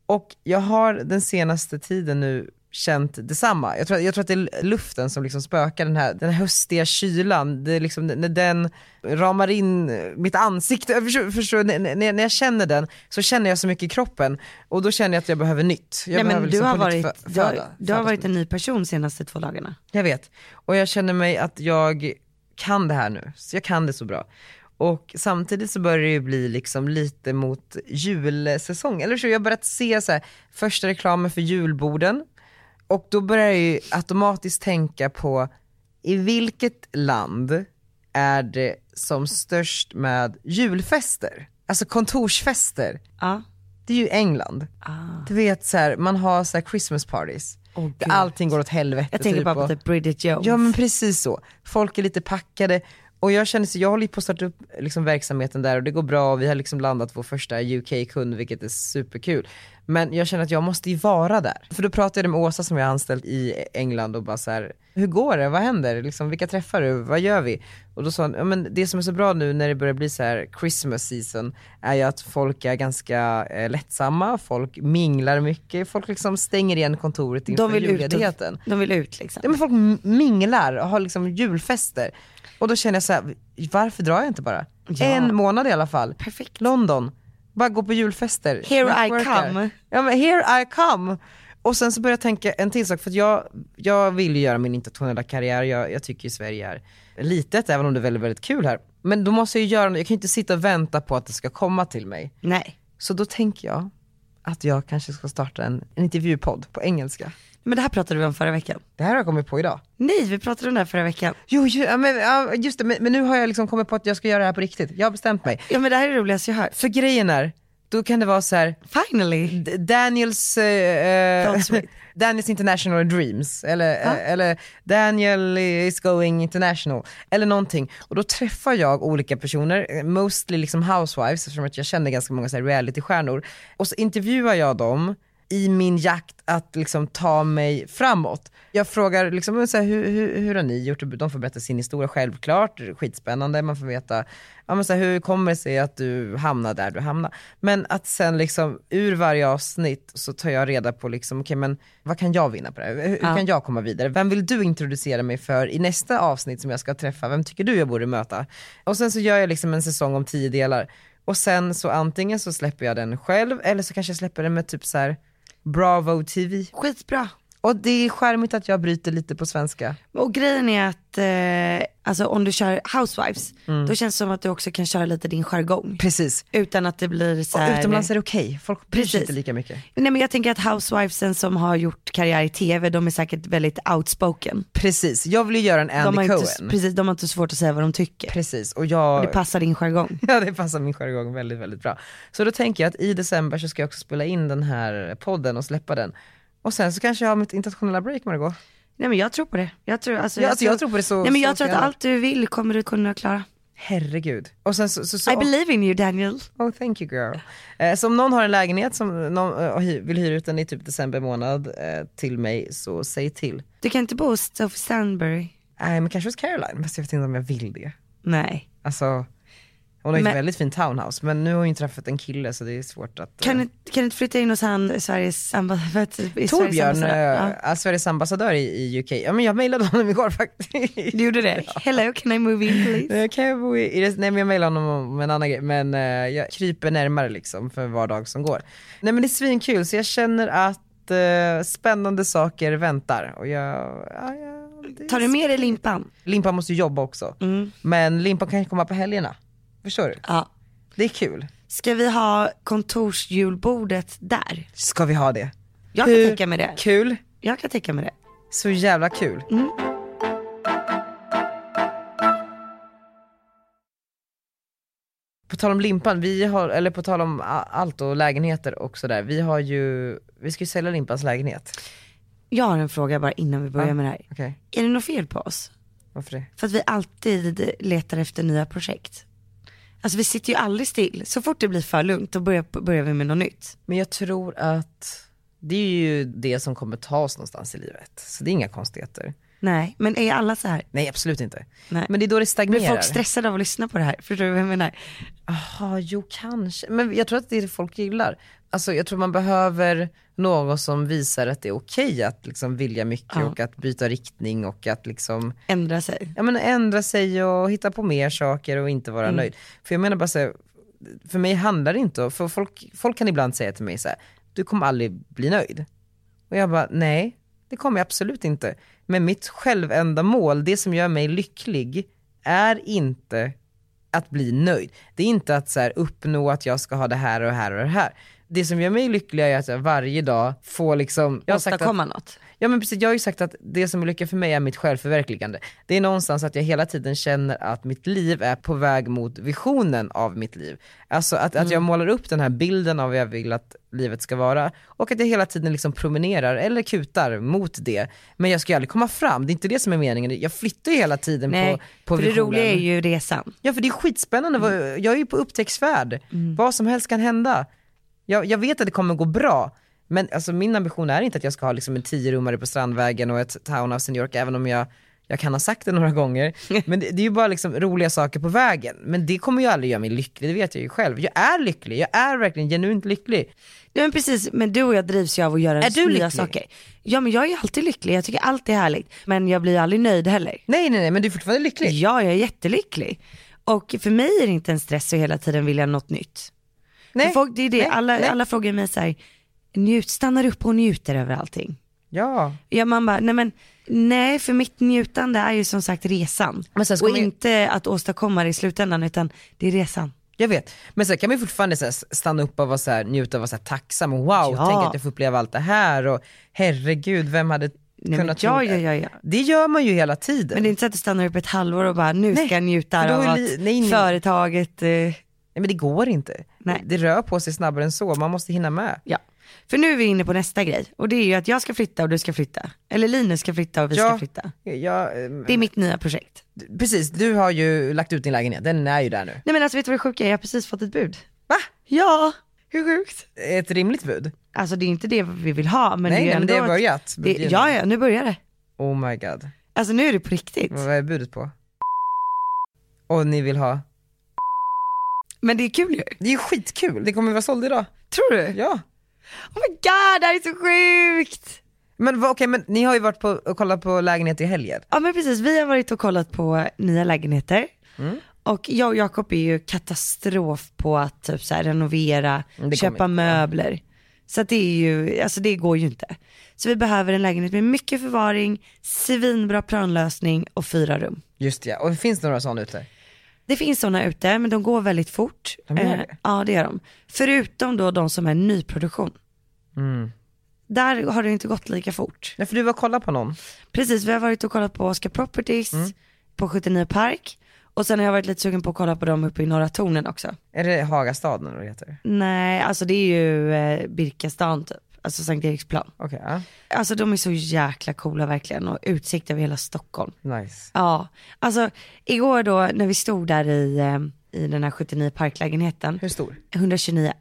Speaker 1: Och jag har den senaste tiden nu känt detsamma. Jag tror, jag tror att det är luften som liksom spökar, den här, den här höstiga kylan. Det är liksom, när den ramar in mitt ansikte, Jag förstår, förstår, när, när när jag känner den så känner jag så mycket i kroppen och då känner jag att jag behöver nytt. Jag
Speaker 2: Nej,
Speaker 1: behöver
Speaker 2: men du,
Speaker 1: liksom
Speaker 2: har
Speaker 1: på nytt
Speaker 2: varit,
Speaker 1: fö-
Speaker 2: du, har,
Speaker 1: föda-
Speaker 2: du har
Speaker 1: födas
Speaker 2: varit
Speaker 1: på
Speaker 2: en ny person de senaste två dagarna.
Speaker 1: jag vet. Och jag känner mig att jag kan det här nu. Så jag kan det så bra. Och samtidigt så börjar det ju bli liksom lite mot julsäsong. Eller så jag har börjat se så här, första reklamen för julborden. Och då börjar jag ju automatiskt tänka på i vilket land är det som störst med julfester? Alltså kontorsfester.
Speaker 2: Ja.
Speaker 1: Det är ju England.
Speaker 2: Ah.
Speaker 1: Du vet så här, man har så här Christmas parties.
Speaker 2: Åh,
Speaker 1: Där
Speaker 2: Gud.
Speaker 1: allting går åt helvete.
Speaker 2: Jag tänker
Speaker 1: typ,
Speaker 2: bara
Speaker 1: och-
Speaker 2: på typ Bridget Jones.
Speaker 1: Ja men precis så. Folk är lite packade Och jag känner så, jag håller ju på att starta upp liksom verksamheten där och det går bra och vi har liksom landat vår första UK-kund vilket är superkul. Men jag känner att jag måste ju vara där. För då pratade jag med Åsa som jag har anställt i England och bara så här, hur går det, vad händer, liksom, vilka träffar du, vad gör vi? Och då sa hon, ja, men det som är så bra nu när det börjar bli så här Christmas season är ju att folk är ganska eh, lättsamma, folk minglar mycket, folk liksom stänger igen kontoret inför
Speaker 2: De vill, ut
Speaker 1: julledigheten.
Speaker 2: och, de vill ut liksom.
Speaker 1: Ja, men folk m- minglar och har liksom julfester. Och då känner jag så här, varför drar jag inte bara?
Speaker 2: Ja.
Speaker 1: En månad i alla fall.
Speaker 2: Perfekt.
Speaker 1: London, bara gå på julfester.
Speaker 2: Here I
Speaker 1: Networkar.
Speaker 2: come.
Speaker 1: Ja men here I come. Och sen så började jag tänka en till sak, för att jag, jag vill ju göra min internationella karriär, jag, jag tycker ju Sverige är litet även om det är väldigt, väldigt kul här. Men då måste jag ju göra något, jag kan ju inte sitta och vänta på att det ska komma till mig.
Speaker 2: Nej.
Speaker 1: Så då tänker jag att jag kanske ska starta en, en intervjupodd på engelska.
Speaker 2: Men det här pratade vi om förra veckan.
Speaker 1: Det här har jag kommit på idag.
Speaker 2: Nej, vi pratade om det här förra veckan.
Speaker 1: Jo, ju, ja, men, ja, just det, men, men nu har jag liksom kommit på att jag ska göra det här på riktigt. Jag har bestämt mig.
Speaker 2: Ja men det här är det roligaste jag hört.
Speaker 1: För grejen är, då kan det vara så här,
Speaker 2: Finally.
Speaker 1: D- Daniels, eh, eh,
Speaker 2: Don't sweat.
Speaker 1: Daniels international dreams, eller,
Speaker 2: Ja.
Speaker 1: eh, eller Daniel is going international, eller någonting. Och då träffar jag olika personer, eh, mostly liksom housewives, eftersom att jag känner ganska många så här realitystjärnor. Och så intervjuar jag dem i min jakt att liksom ta mig framåt. Jag frågar liksom, så här, hur, hur, hur har ni gjort? De får berätta sin historia självklart, skitspännande, man får veta ja, men så här, hur kommer det sig att du hamnar där du hamnar? Men att sen liksom ur varje avsnitt så tar jag reda på liksom, okej men vad kan jag vinna på det här? Hur, hur
Speaker 2: Ja.
Speaker 1: kan jag komma vidare? Vem vill du introducera mig för i nästa avsnitt som jag ska träffa? Vem tycker du jag borde möta? Och sen så gör jag liksom en säsong om tio delar. Och sen så antingen så släpper jag den själv eller så kanske jag släpper den med typ så här Bravo TV.
Speaker 2: Skitbra.
Speaker 1: Och det är charmigt att jag bryter lite på svenska.
Speaker 2: Och grejen är att eh, alltså, om du kör housewives, då känns det som att du också kan köra lite din jargong.
Speaker 1: Precis.
Speaker 2: Utan att det blir så
Speaker 1: Och
Speaker 2: här...
Speaker 1: utomlands är det okej, folk bryr sig
Speaker 2: Precis.
Speaker 1: inte lika mycket.
Speaker 2: Nej men jag tänker att housewivesen som har gjort karriär i tv, de är säkert väldigt outspoken.
Speaker 1: Precis, jag vill ju göra en
Speaker 2: De har,
Speaker 1: Andy
Speaker 2: inte,
Speaker 1: Cohen.
Speaker 2: precis, de har inte svårt att säga vad de tycker.
Speaker 1: Precis, och jag...
Speaker 2: Det passar din jargong.
Speaker 1: Ja det passar min jargong väldigt, väldigt bra. Så då tänker jag att i december så ska jag också spela in den här podden och släppa den. Och sen så kanske jag har mitt internationella break Margot.
Speaker 2: Nej men jag tror på det. Jag tror, alltså,
Speaker 1: Ja, alltså, jag tror på det så
Speaker 2: Nej men jag
Speaker 1: så
Speaker 2: tror att
Speaker 1: gärna.
Speaker 2: allt du vill kommer du kunna klara.
Speaker 1: Herregud. Och sen så, så, så
Speaker 2: I believe in you Daniel.
Speaker 1: oh thank you girl. Eh, så om någon har en lägenhet som någon eh, hy- vill hyra ut den i typ december månad eh, till mig så säg till.
Speaker 2: Du kan inte bo hos Sophie Sandberry.
Speaker 1: Nej men kanske hos Caroline, fast jag vet inte om jag vill det.
Speaker 2: Nej.
Speaker 1: Alltså hon har ju
Speaker 2: Men-
Speaker 1: ett väldigt fint townhouse men nu har hon ju träffat en kille så det är svårt att... eh,
Speaker 2: Kan du, kan du inte flytta in hos han, Sveriges ambassadör?
Speaker 1: Torbjörn, eh,
Speaker 2: Ja.
Speaker 1: ja. Sveriges ambassadör i, i UK, ja men jag mejlade honom igår faktiskt.
Speaker 2: Du gjorde det? Hello can I move in please?
Speaker 1: Eh, Kan jag bo i, i det, nej men jag mejlade honom om en annan grej, men eh, jag kryper närmare liksom för var dag som går. Nej men det är svinkul, så jag känner att eh, spännande saker väntar. Och jag, ja, ja, det-
Speaker 2: Tar du med dig limpan?
Speaker 1: Limpan måste ju jobba också,
Speaker 2: Mm.
Speaker 1: men Limpan kan ju komma på helgerna. Förstår du?
Speaker 2: Ja.
Speaker 1: Det är kul.
Speaker 2: Ska vi ha kontorsjulbordet där?
Speaker 1: Ska vi ha det?
Speaker 2: Jag kan
Speaker 1: Hur-
Speaker 2: tänka mig det.
Speaker 1: Kul,
Speaker 2: Jag kan tänka mig det.
Speaker 1: så jävla kul. På tal om limpan, vi har, eller på tal om a- allt och lägenheter och sådär, vi har ju, vi ska ju sälja limpans lägenhet.
Speaker 2: Jag har en fråga bara innan vi börjar
Speaker 1: Ja.
Speaker 2: med det här.
Speaker 1: Okej,
Speaker 2: Är det något fel på oss?
Speaker 1: varför det?
Speaker 2: För att vi alltid letar efter nya projekt. Alltså vi sitter ju aldrig still. Så fort det blir för lugnt då börjar, börjar vi med något nytt.
Speaker 1: Men jag tror att det är ju det som kommer ta oss någonstans i livet. Så det är inga konstigheter.
Speaker 2: Nej, men är alla så här?
Speaker 1: Nej absolut inte.
Speaker 2: Nej.
Speaker 1: Men det är då det
Speaker 2: Blir
Speaker 1: stagnerar.
Speaker 2: folk stressade av att lyssna på det här? Förstår du vad jag menar?
Speaker 1: Jaha, jo kanske. Men jag tror att det är det folk gillar. Alltså jag tror man behöver någon som visar att det är okej att liksom vilja mycket
Speaker 2: Ja.
Speaker 1: och att byta riktning och att liksom
Speaker 2: Ändra sig.
Speaker 1: ja, men ändra sig och hitta på mer saker och inte vara nöjd. För jag menar bara så här, för mig handlar det inte om, för folk, folk kan ibland säga till mig så här, du kommer aldrig bli nöjd. Och jag bara, nej, det kommer jag absolut inte. Men mitt självändamål, det som gör mig lycklig, är inte att bli nöjd. Det är inte att så här, uppnå att jag ska ha det här och det här och det här. det som gör mig lycklig är att jag varje dag får liksom, jag har sagt att,
Speaker 2: åstadkomma något.
Speaker 1: ja men precis, jag har ju sagt att det som är lycka för mig är mitt självförverkligande. Det är någonstans att jag hela tiden känner att mitt liv är på väg mot visionen av mitt liv. Alltså att,
Speaker 2: Mm.
Speaker 1: att jag målar upp den här bilden av vad jag vill att livet ska vara och att jag hela tiden liksom promenerar eller kutar mot det. Men jag ska ju aldrig komma fram, det är inte det som är meningen. Jag flyttar ju hela tiden
Speaker 2: Nej,
Speaker 1: på, på
Speaker 2: för det
Speaker 1: visionen.
Speaker 2: roliga är ju resan.
Speaker 1: Ja för det är skitspännande, Vad- jag är ju på upptäcktsfärd. Vad som helst kan hända. Jag, jag vet att det kommer gå bra, men alltså, min ambition är inte att jag ska ha liksom, en tiorummare på Strandvägen och ett townhouse i New York, även om jag, jag kan ha sagt det några gånger. Men det, det är ju bara liksom, roliga saker på vägen. Men det kommer ju aldrig göra mig lycklig, det vet jag ju själv. Jag är lycklig, jag är verkligen genuint lycklig.
Speaker 2: Ja, men precis, men du och jag drivs ju av att göra
Speaker 1: Är du
Speaker 2: nya
Speaker 1: lycklig?
Speaker 2: saker. Ja men jag är alltid lycklig, jag tycker allt är härligt. Men jag blir aldrig nöjd heller.
Speaker 1: Nej nej nej, men du är fortfarande lycklig.
Speaker 2: Ja, jag är jättelycklig. Och för mig är det inte en stress att hela tiden vilja något nytt.
Speaker 1: nej.
Speaker 2: För folk, det är det,
Speaker 1: nej,
Speaker 2: alla,
Speaker 1: nej.
Speaker 2: alla frågar mig så här, njut, stannar upp och njuter över allting.
Speaker 1: Ja.
Speaker 2: Ja man bara, nej men nej för mitt njutande är ju som sagt resan.
Speaker 1: Men sen ska
Speaker 2: och
Speaker 1: man ju-
Speaker 2: inte att åstadkomma det i slutändan utan det är resan.
Speaker 1: Jag vet, men sen kan man ju fortfarande så här stanna upp och vara så här, njuta och vara så här tacksam och wow,
Speaker 2: Ja.
Speaker 1: tänk att jag får uppleva allt det här och herregud, vem hade
Speaker 2: Nej, men
Speaker 1: kunnat
Speaker 2: ja,
Speaker 1: tro
Speaker 2: ja,
Speaker 1: det?
Speaker 2: ja, ja.
Speaker 1: Det gör man ju hela tiden.
Speaker 2: Men det är inte så att du stannar upp ett halvår och bara nu
Speaker 1: Nej,
Speaker 2: ska jag njuta
Speaker 1: för då
Speaker 2: av
Speaker 1: är
Speaker 2: att
Speaker 1: li- nej, nej.
Speaker 2: företaget, eh,
Speaker 1: Nej, men det går inte.
Speaker 2: Nej.
Speaker 1: Det rör på sig snabbare än så, man måste hinna med.
Speaker 2: ja. För nu är vi inne på nästa grej och det är ju att jag ska flytta och du ska flytta. Eller Linus ska flytta och vi ska
Speaker 1: Ja.
Speaker 2: flytta.
Speaker 1: Jag, ehm,
Speaker 2: Det är mitt nya projekt.
Speaker 1: precis, du har ju lagt ut din lägenhet, den är ju där nu.
Speaker 2: Nej men alltså vet du vad det sjuka är? Jag har precis fått ett bud.
Speaker 1: Va?
Speaker 2: Ja, hur sjukt?
Speaker 1: Ett rimligt bud?
Speaker 2: Alltså det är inte det vi vill ha
Speaker 1: nej,
Speaker 2: men det är
Speaker 1: nej, men
Speaker 2: ändå
Speaker 1: det har
Speaker 2: ett-
Speaker 1: börjat.
Speaker 2: det, ja, ja, nu börjar det.
Speaker 1: Oh my god.
Speaker 2: Alltså nu är det på riktigt.
Speaker 1: Vad är budet på? Och ni vill ha?
Speaker 2: Men det är kul ju.
Speaker 1: Det är ju skitkul, det kommer vara såld idag.
Speaker 2: Tror du?
Speaker 1: Ja.
Speaker 2: Oh my god, det här är så sjukt!
Speaker 1: Men vad- okej, men ni har ju varit på, och kollat på lägenhet i helgen.
Speaker 2: Ja men precis, vi har varit och kollat på nya lägenheter.
Speaker 1: Mm.
Speaker 2: Och jag och Jakob är ju katastrof på att typ så här, renovera,
Speaker 1: Mm, det
Speaker 2: köpa
Speaker 1: kommer
Speaker 2: möbler. Så att det är ju, alltså det går ju inte. Så vi behöver en lägenhet med mycket förvaring, svinbra planlösning och fyra rum.
Speaker 1: Just det, ja. och finns det några sådana ute?
Speaker 2: Det finns sådana ute men de går väldigt fort.
Speaker 1: De gör
Speaker 2: Eh,
Speaker 1: det?
Speaker 2: ja det gör de. Förutom då de som är nyproduktion.
Speaker 1: Mm.
Speaker 2: Där har det inte gått lika fort.
Speaker 1: Ja, för du var och kollade på någon.
Speaker 2: Precis, vi har varit och kollat på Oscar Properties
Speaker 1: Mm.
Speaker 2: på 79 Park. Och sen har jag varit lite sugen på att kolla på dem uppe i Norra Tornen också.
Speaker 1: Är det Hagastaden eller vad det heter?
Speaker 2: Nej, alltså det är ju eh, Birkastan typ. Alltså Sankt Eriksplan.
Speaker 1: Okej, ja.
Speaker 2: Alltså de är så jäkla coola verkligen och utsikt över hela Stockholm.
Speaker 1: nice.
Speaker 2: Ja, alltså igår då när vi stod där i, eh, i den här 79 Park-lägenheten,
Speaker 1: Hur stor?
Speaker 2: 129,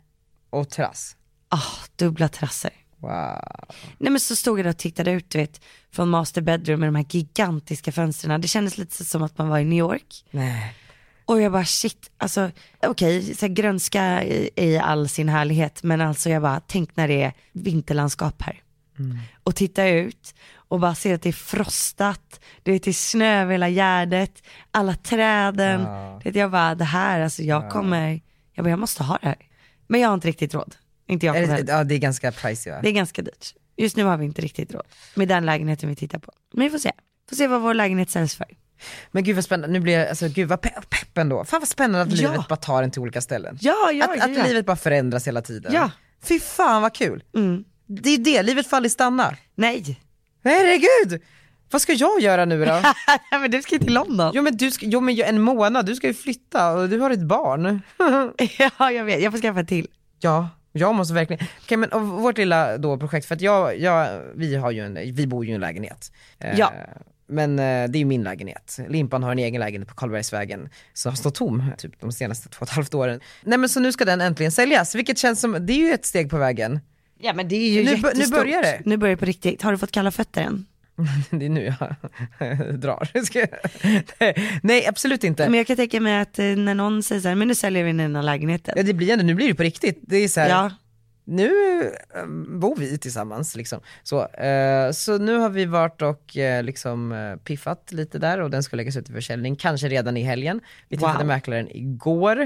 Speaker 1: Och terrass.
Speaker 2: ah, dubbla terrasser.
Speaker 1: Wow.
Speaker 2: Nej men så stod jag där och tittade ut du vet, från master bedroom med de här gigantiska fönstren. Det kändes lite som att man var i New York.
Speaker 1: Nej.
Speaker 2: Och jag bara shit, alltså okej, så här grönska i, i all sin härlighet, men alltså jag bara tänk när det är vinterlandskap här.
Speaker 1: Mm.
Speaker 2: Och titta ut och bara se att det är frostat, det är till snö över hela gärdet, alla träden.
Speaker 1: Ja.
Speaker 2: Det, jag bara det här, alltså jag kommer, jag bara jag måste ha det här. Men jag har inte riktigt råd. Inte jag
Speaker 1: Är
Speaker 2: kommer
Speaker 1: det, ja, det är ganska pricey va?
Speaker 2: det är ganska dyrt. Just nu har vi inte riktigt råd med den lägenheten vi tittar på. Men vi får se. Får se vad vår lägenhet säljs för.
Speaker 1: Men gud vad spännande, nu blir jag, alltså gud vad pe- pepp ändå. Fan vad spännande att
Speaker 2: Ja.
Speaker 1: livet bara tar en till olika ställen.
Speaker 2: Ja, ja,
Speaker 1: att
Speaker 2: ja,
Speaker 1: att
Speaker 2: ja.
Speaker 1: livet bara förändras hela tiden.
Speaker 2: Ja.
Speaker 1: Fy fan vad kul.
Speaker 2: Mm.
Speaker 1: Det är det, livet får aldrig stanna.
Speaker 2: Nej.
Speaker 1: Herregud! Vad ska jag göra nu då?
Speaker 2: Nej men du ska ju till London.
Speaker 1: Jo men, du ska, jo men en månad, du ska ju flytta och du har ett barn.
Speaker 2: ja jag vet, jag får skaffa till.
Speaker 1: Ja, jag måste verkligen. Okej men av vårt lilla då projekt, för att jag, jag vi, har ju en, vi bor ju i en lägenhet. Eh,
Speaker 2: Ja.
Speaker 1: Men eh, det är ju min lägenhet. Limpan har en egen lägenhet på Karlbergsvägen som har stått tom typ de senaste två och ett halvt åren. Nej men så nu ska den äntligen säljas, vilket känns som, det är ju ett steg på vägen.
Speaker 2: Ja men det är ju
Speaker 1: Nu bör- nu
Speaker 2: jättestort.
Speaker 1: börjar det.
Speaker 2: Nu börjar det på riktigt. Har du fått kalla fötter än?
Speaker 1: Det är nu jag drar. Ska jag- Nej absolut inte.
Speaker 2: Men jag kan tänka mig att eh, när någon säger så här, men nu säljer vi den här
Speaker 1: Ja,
Speaker 2: lägenheten.
Speaker 1: det blir ändå, nu blir det på riktigt. Det är så här,
Speaker 2: Ja,
Speaker 1: nu eh, bor vi tillsammans liksom. Så, eh, så nu har vi varit och eh, liksom eh, piffat lite där och den ska läggas ut i försäljning, kanske redan i helgen. Vi träffade
Speaker 2: Wow.
Speaker 1: mäklaren igår.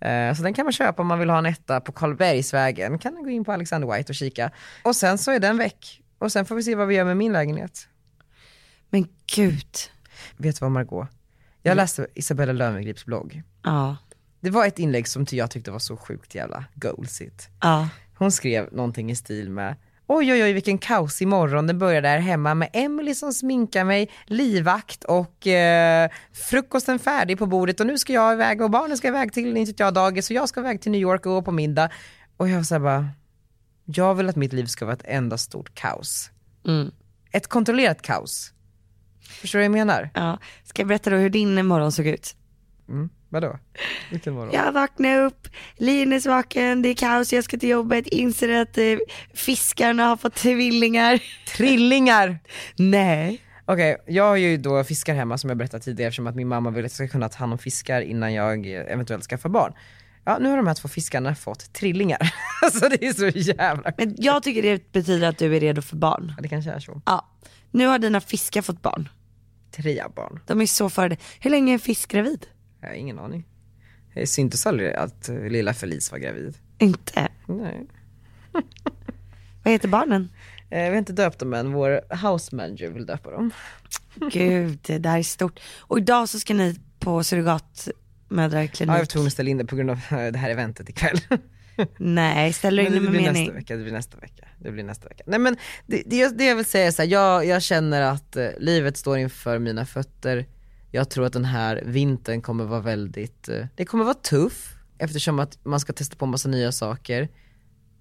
Speaker 1: Eh, så den kan man köpa om man vill ha en etta på Karlbergsvägen. Kan man gå in på Alexander White och kika. Och sen så är den väck. Och sen får vi se vad vi gör med min lägenhet.
Speaker 2: men gud.
Speaker 1: Vet du vad Margot? Jag läste Isabella Löwengrips blogg.
Speaker 2: Ja,
Speaker 1: Det var ett inlägg som jag tyckte var så sjukt jävla goalsigt.
Speaker 2: ja.
Speaker 1: Hon skrev någonting i stil med Oj oj oj vilken kaos imorgon, det börjar där hemma med Emily som sminkar mig, livvakt och eh, frukosten färdig på bordet och nu ska jag iväg och barnen ska iväg till, inte vet jag, dagis och jag ska iväg till New York och gå på middag. Och jag var såhär bara, jag vill att mitt liv ska vara ett enda stort kaos.
Speaker 2: Mm.
Speaker 1: Ett kontrollerat kaos. Förstår du vad jag menar?
Speaker 2: Ja. Ska jag berätta då hur din morgon såg ut?
Speaker 1: Mm. Vadå? Vilken morgon?
Speaker 2: Jag vaknade upp, Linus vaken, det är kaos, jag ska till jobbet, inser att eh, fiskarna har fått tvillingar.
Speaker 1: Trillingar!
Speaker 2: Nej.
Speaker 1: Okej, jag har ju då fiskar hemma som jag berättade tidigare eftersom att min mamma vill att jag ska kunna ta hand om fiskar innan jag eventuellt skaffar barn. Ja, nu har de här två fiskarna fått trillingar. alltså det är så jävla...
Speaker 2: Men jag tycker det betyder att du är redo för barn.
Speaker 1: Det kanske är så.
Speaker 2: Ja. Nu har dina fiskar fått barn.
Speaker 1: Tre barn.
Speaker 2: De är så före det. Hur länge är en fisk gravid?
Speaker 1: Jag har ingen aning. Det syntes aldrig att eh, lilla Felice var gravid.
Speaker 2: Inte.
Speaker 1: Nej.
Speaker 2: Vad heter barnen?
Speaker 1: Eh, Vi har inte döpt dem än, vår house manager vill döpa dem.
Speaker 2: Gud, det där är stort. Och idag så ska ni på
Speaker 1: Ja, jag var
Speaker 2: surrogatmödrarklinik.
Speaker 1: tvungen att ställa in det på grund av eh, det här eventet ikväll.
Speaker 2: Nej, ställer du
Speaker 1: Men
Speaker 2: in
Speaker 1: det
Speaker 2: med
Speaker 1: blir
Speaker 2: mening?
Speaker 1: nästa vecka, det blir nästa vecka. Det blir nästa vecka. Nej men det, det, jag- det jag vill säga är så här, jag, jag känner att eh, livet står inför mina fötter. Jag tror att den här vintern kommer vara väldigt, eh, det kommer vara tuff eftersom att man ska testa på massa nya saker.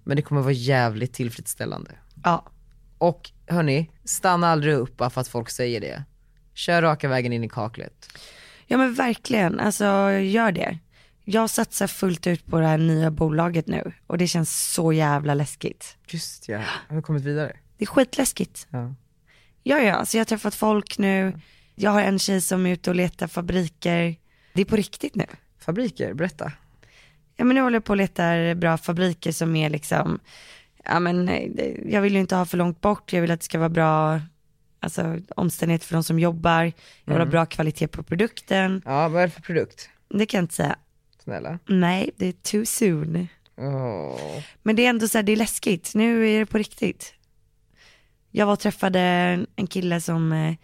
Speaker 1: Men det kommer vara jävligt tillfredsställande.
Speaker 2: Ja.
Speaker 1: Och hörni, stanna aldrig upp bara för att folk säger det. Kör raka vägen in i kaklet.
Speaker 2: ja men verkligen, alltså gör det. Jag satsar fullt ut på det här nya bolaget nu och det känns så jävla läskigt.
Speaker 1: Just ja, har vi kommit vidare?
Speaker 2: Det är skitläskigt.
Speaker 1: Ja.
Speaker 2: Ja, ja, alltså jag har träffat folk nu. Jag har en tjej som är ute och letar fabriker. Det är på riktigt nu.
Speaker 1: Fabriker, berätta.
Speaker 2: Ja, men nu håller jag på och letar bra fabriker som är liksom, ja men nej, det- jag vill ju inte ha för långt bort, jag vill att det ska vara bra, alltså omständigheter för de som jobbar, jag vill ha bra kvalitet på produkten.
Speaker 1: Ja, vad är det för produkt?
Speaker 2: Det kan jag inte säga,
Speaker 1: Snälla.
Speaker 2: nej det är too soon.
Speaker 1: Åh.
Speaker 2: Men det är ändå så här, det är läskigt, nu är det på riktigt. Jag var och träffade en- en kille som eh,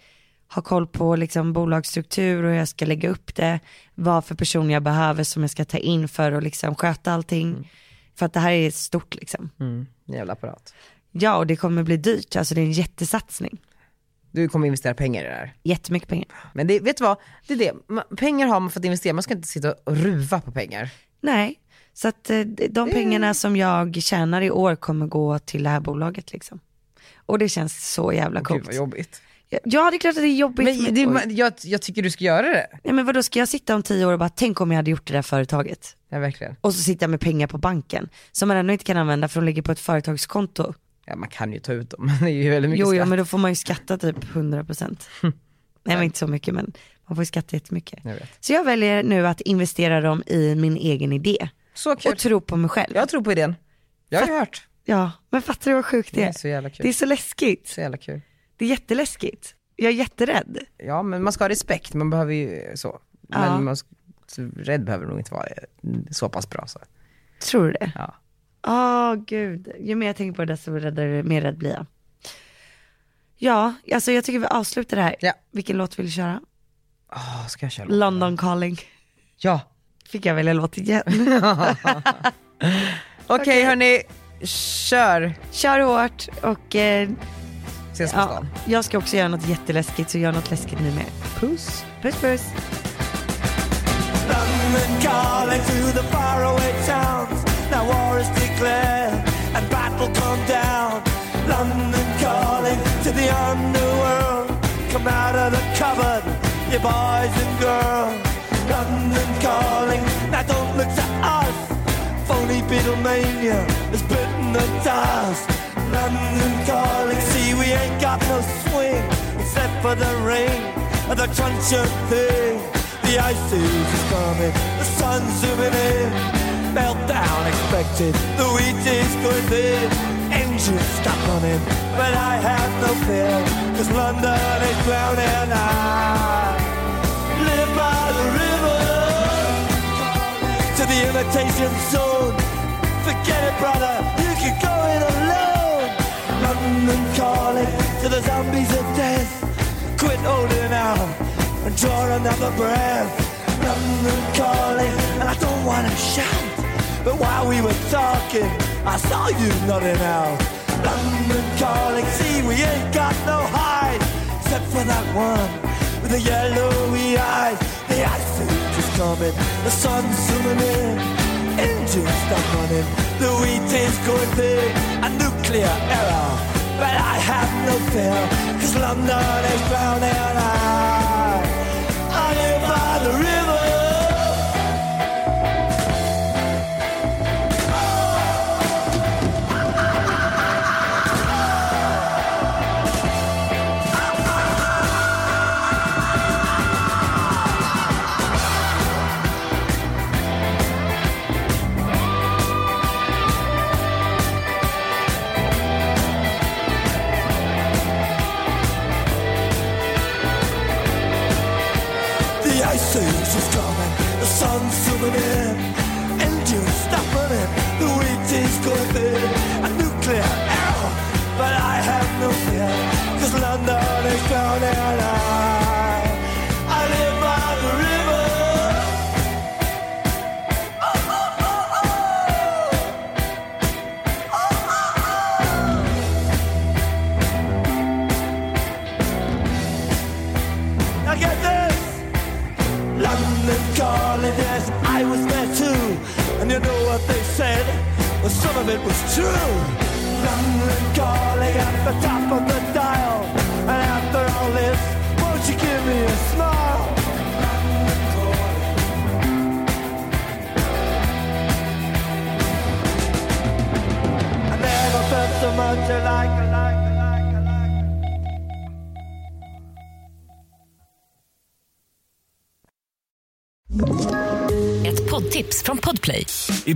Speaker 2: har koll på liksom bolagsstruktur och hur jag ska lägga upp det, vad för person jag behöver som jag ska ta in för att liksom sköta allting. För att det här är stort liksom.
Speaker 1: Mm, jävla apparat.
Speaker 2: Ja, och det kommer bli dyrt. Alltså det är en jättesatsning.
Speaker 1: Du kommer investera pengar i det här.
Speaker 2: Jättemycket pengar.
Speaker 1: Men det, vet du vad, det är det. Ma- Pengar har man för att investera, man ska inte sitta och ruva på pengar.
Speaker 2: Nej, så att eh, de pengarna som jag tjänar i år kommer gå till det här bolaget liksom. Och det känns så jävla
Speaker 1: Gud
Speaker 2: coolt.
Speaker 1: vad jobbigt.
Speaker 2: Ja, det är klart att det är jobbigt.
Speaker 1: Men det,
Speaker 2: Oj.
Speaker 1: man- jag, jag tycker du ska göra det.
Speaker 2: Ja, men vadå, ska jag sitta om tio år och bara tänk om jag hade gjort det där företaget?
Speaker 1: Ja verkligen.
Speaker 2: Och så sitta jag med pengar på banken som man ändå inte kan använda för de ligger på ett företagskonto.
Speaker 1: Ja man kan ju ta ut dem, men det är ju väldigt mycket
Speaker 2: Jo, ja,
Speaker 1: skatt.
Speaker 2: men då får man ju skatta typ 100%. Nej, men inte så mycket, men man får ju skatta jättemycket.
Speaker 1: Jag vet.
Speaker 2: Så jag väljer nu att investera dem i min egen idé
Speaker 1: Så kul.
Speaker 2: och tro på mig själv.
Speaker 1: Jag tror på idén. Jag har ju hört.
Speaker 2: Ja, men fattar du vad sjukt det
Speaker 1: Det är
Speaker 2: är?
Speaker 1: så jävla kul.
Speaker 2: Det är så läskigt.
Speaker 1: Så jävla kul.
Speaker 2: Det är jätteläskigt. Jag är jätterädd.
Speaker 1: Ja men man ska ha respekt, man behöver ju så. Men
Speaker 2: Ja.
Speaker 1: man ska, så rädd behöver nog inte vara eh, så pass bra så.
Speaker 2: Tror du det?
Speaker 1: Ja.
Speaker 2: Åh gud, ju mer jag tänker på det desto räddare, mer rädd blir jag. Ja, alltså jag tycker vi avslutar det här.
Speaker 1: Ja.
Speaker 2: Vilken låt vill du köra?
Speaker 1: Åh, ska jag köra låten?
Speaker 2: London calling.
Speaker 1: Ja.
Speaker 2: Fick jag välja låt igen?
Speaker 1: Okej hörni, kör.
Speaker 2: Kör hårt och eh,
Speaker 1: Ses på
Speaker 2: ja,
Speaker 1: stan.
Speaker 2: jag ska också göra något jätteläskigt så gör något läskigt ni med.
Speaker 1: Puss.
Speaker 2: Puss puss.
Speaker 5: London calling to the faraway towns. Now war is declared and battle come down. London calling to the underworld. Come out of the cupboard, you boys and girls. London calling, now don't look to us. Phony Beatlemania is bitten the dust. London calling, see we ain't got no swing except for the rain and the crunch of things. The ice is coming, the sun's zooming in. Meltdown expected, the wheat is going thin. Engines stop running, but I have no fear, cause London is drowning. I live by the river to the imitation zone. Forget it, brother, you can go it alone. London calling to the zombies of death. Quit holding out and draw another breath. London calling, and I don't wanna shout. But while we were talking, I saw you nodding out. London calling, see, we ain't got no hide. Except for that one with the yellowy eyes. The ice is coming, the sun's zooming in. Engines stop running, the wheat is going thick. A nuclear error, but I have no fear. Cause London is drowning I, I live by the river. The ice age is coming, the sun's zooming in, engines stop running, the wheat is going thin, a nuclear arrow, but I have no fear, cause London is drowning and I, I live by the river. Now get this! London calling, yes, I was there too. And you know what they said? Well, some of it was true. London calling at the top of the dial. And after all this, won't you give me a smile? London calling. I never felt so much alike, alike, alike, alike.
Speaker 6: Ett poddtips från Podplay.
Speaker 7: I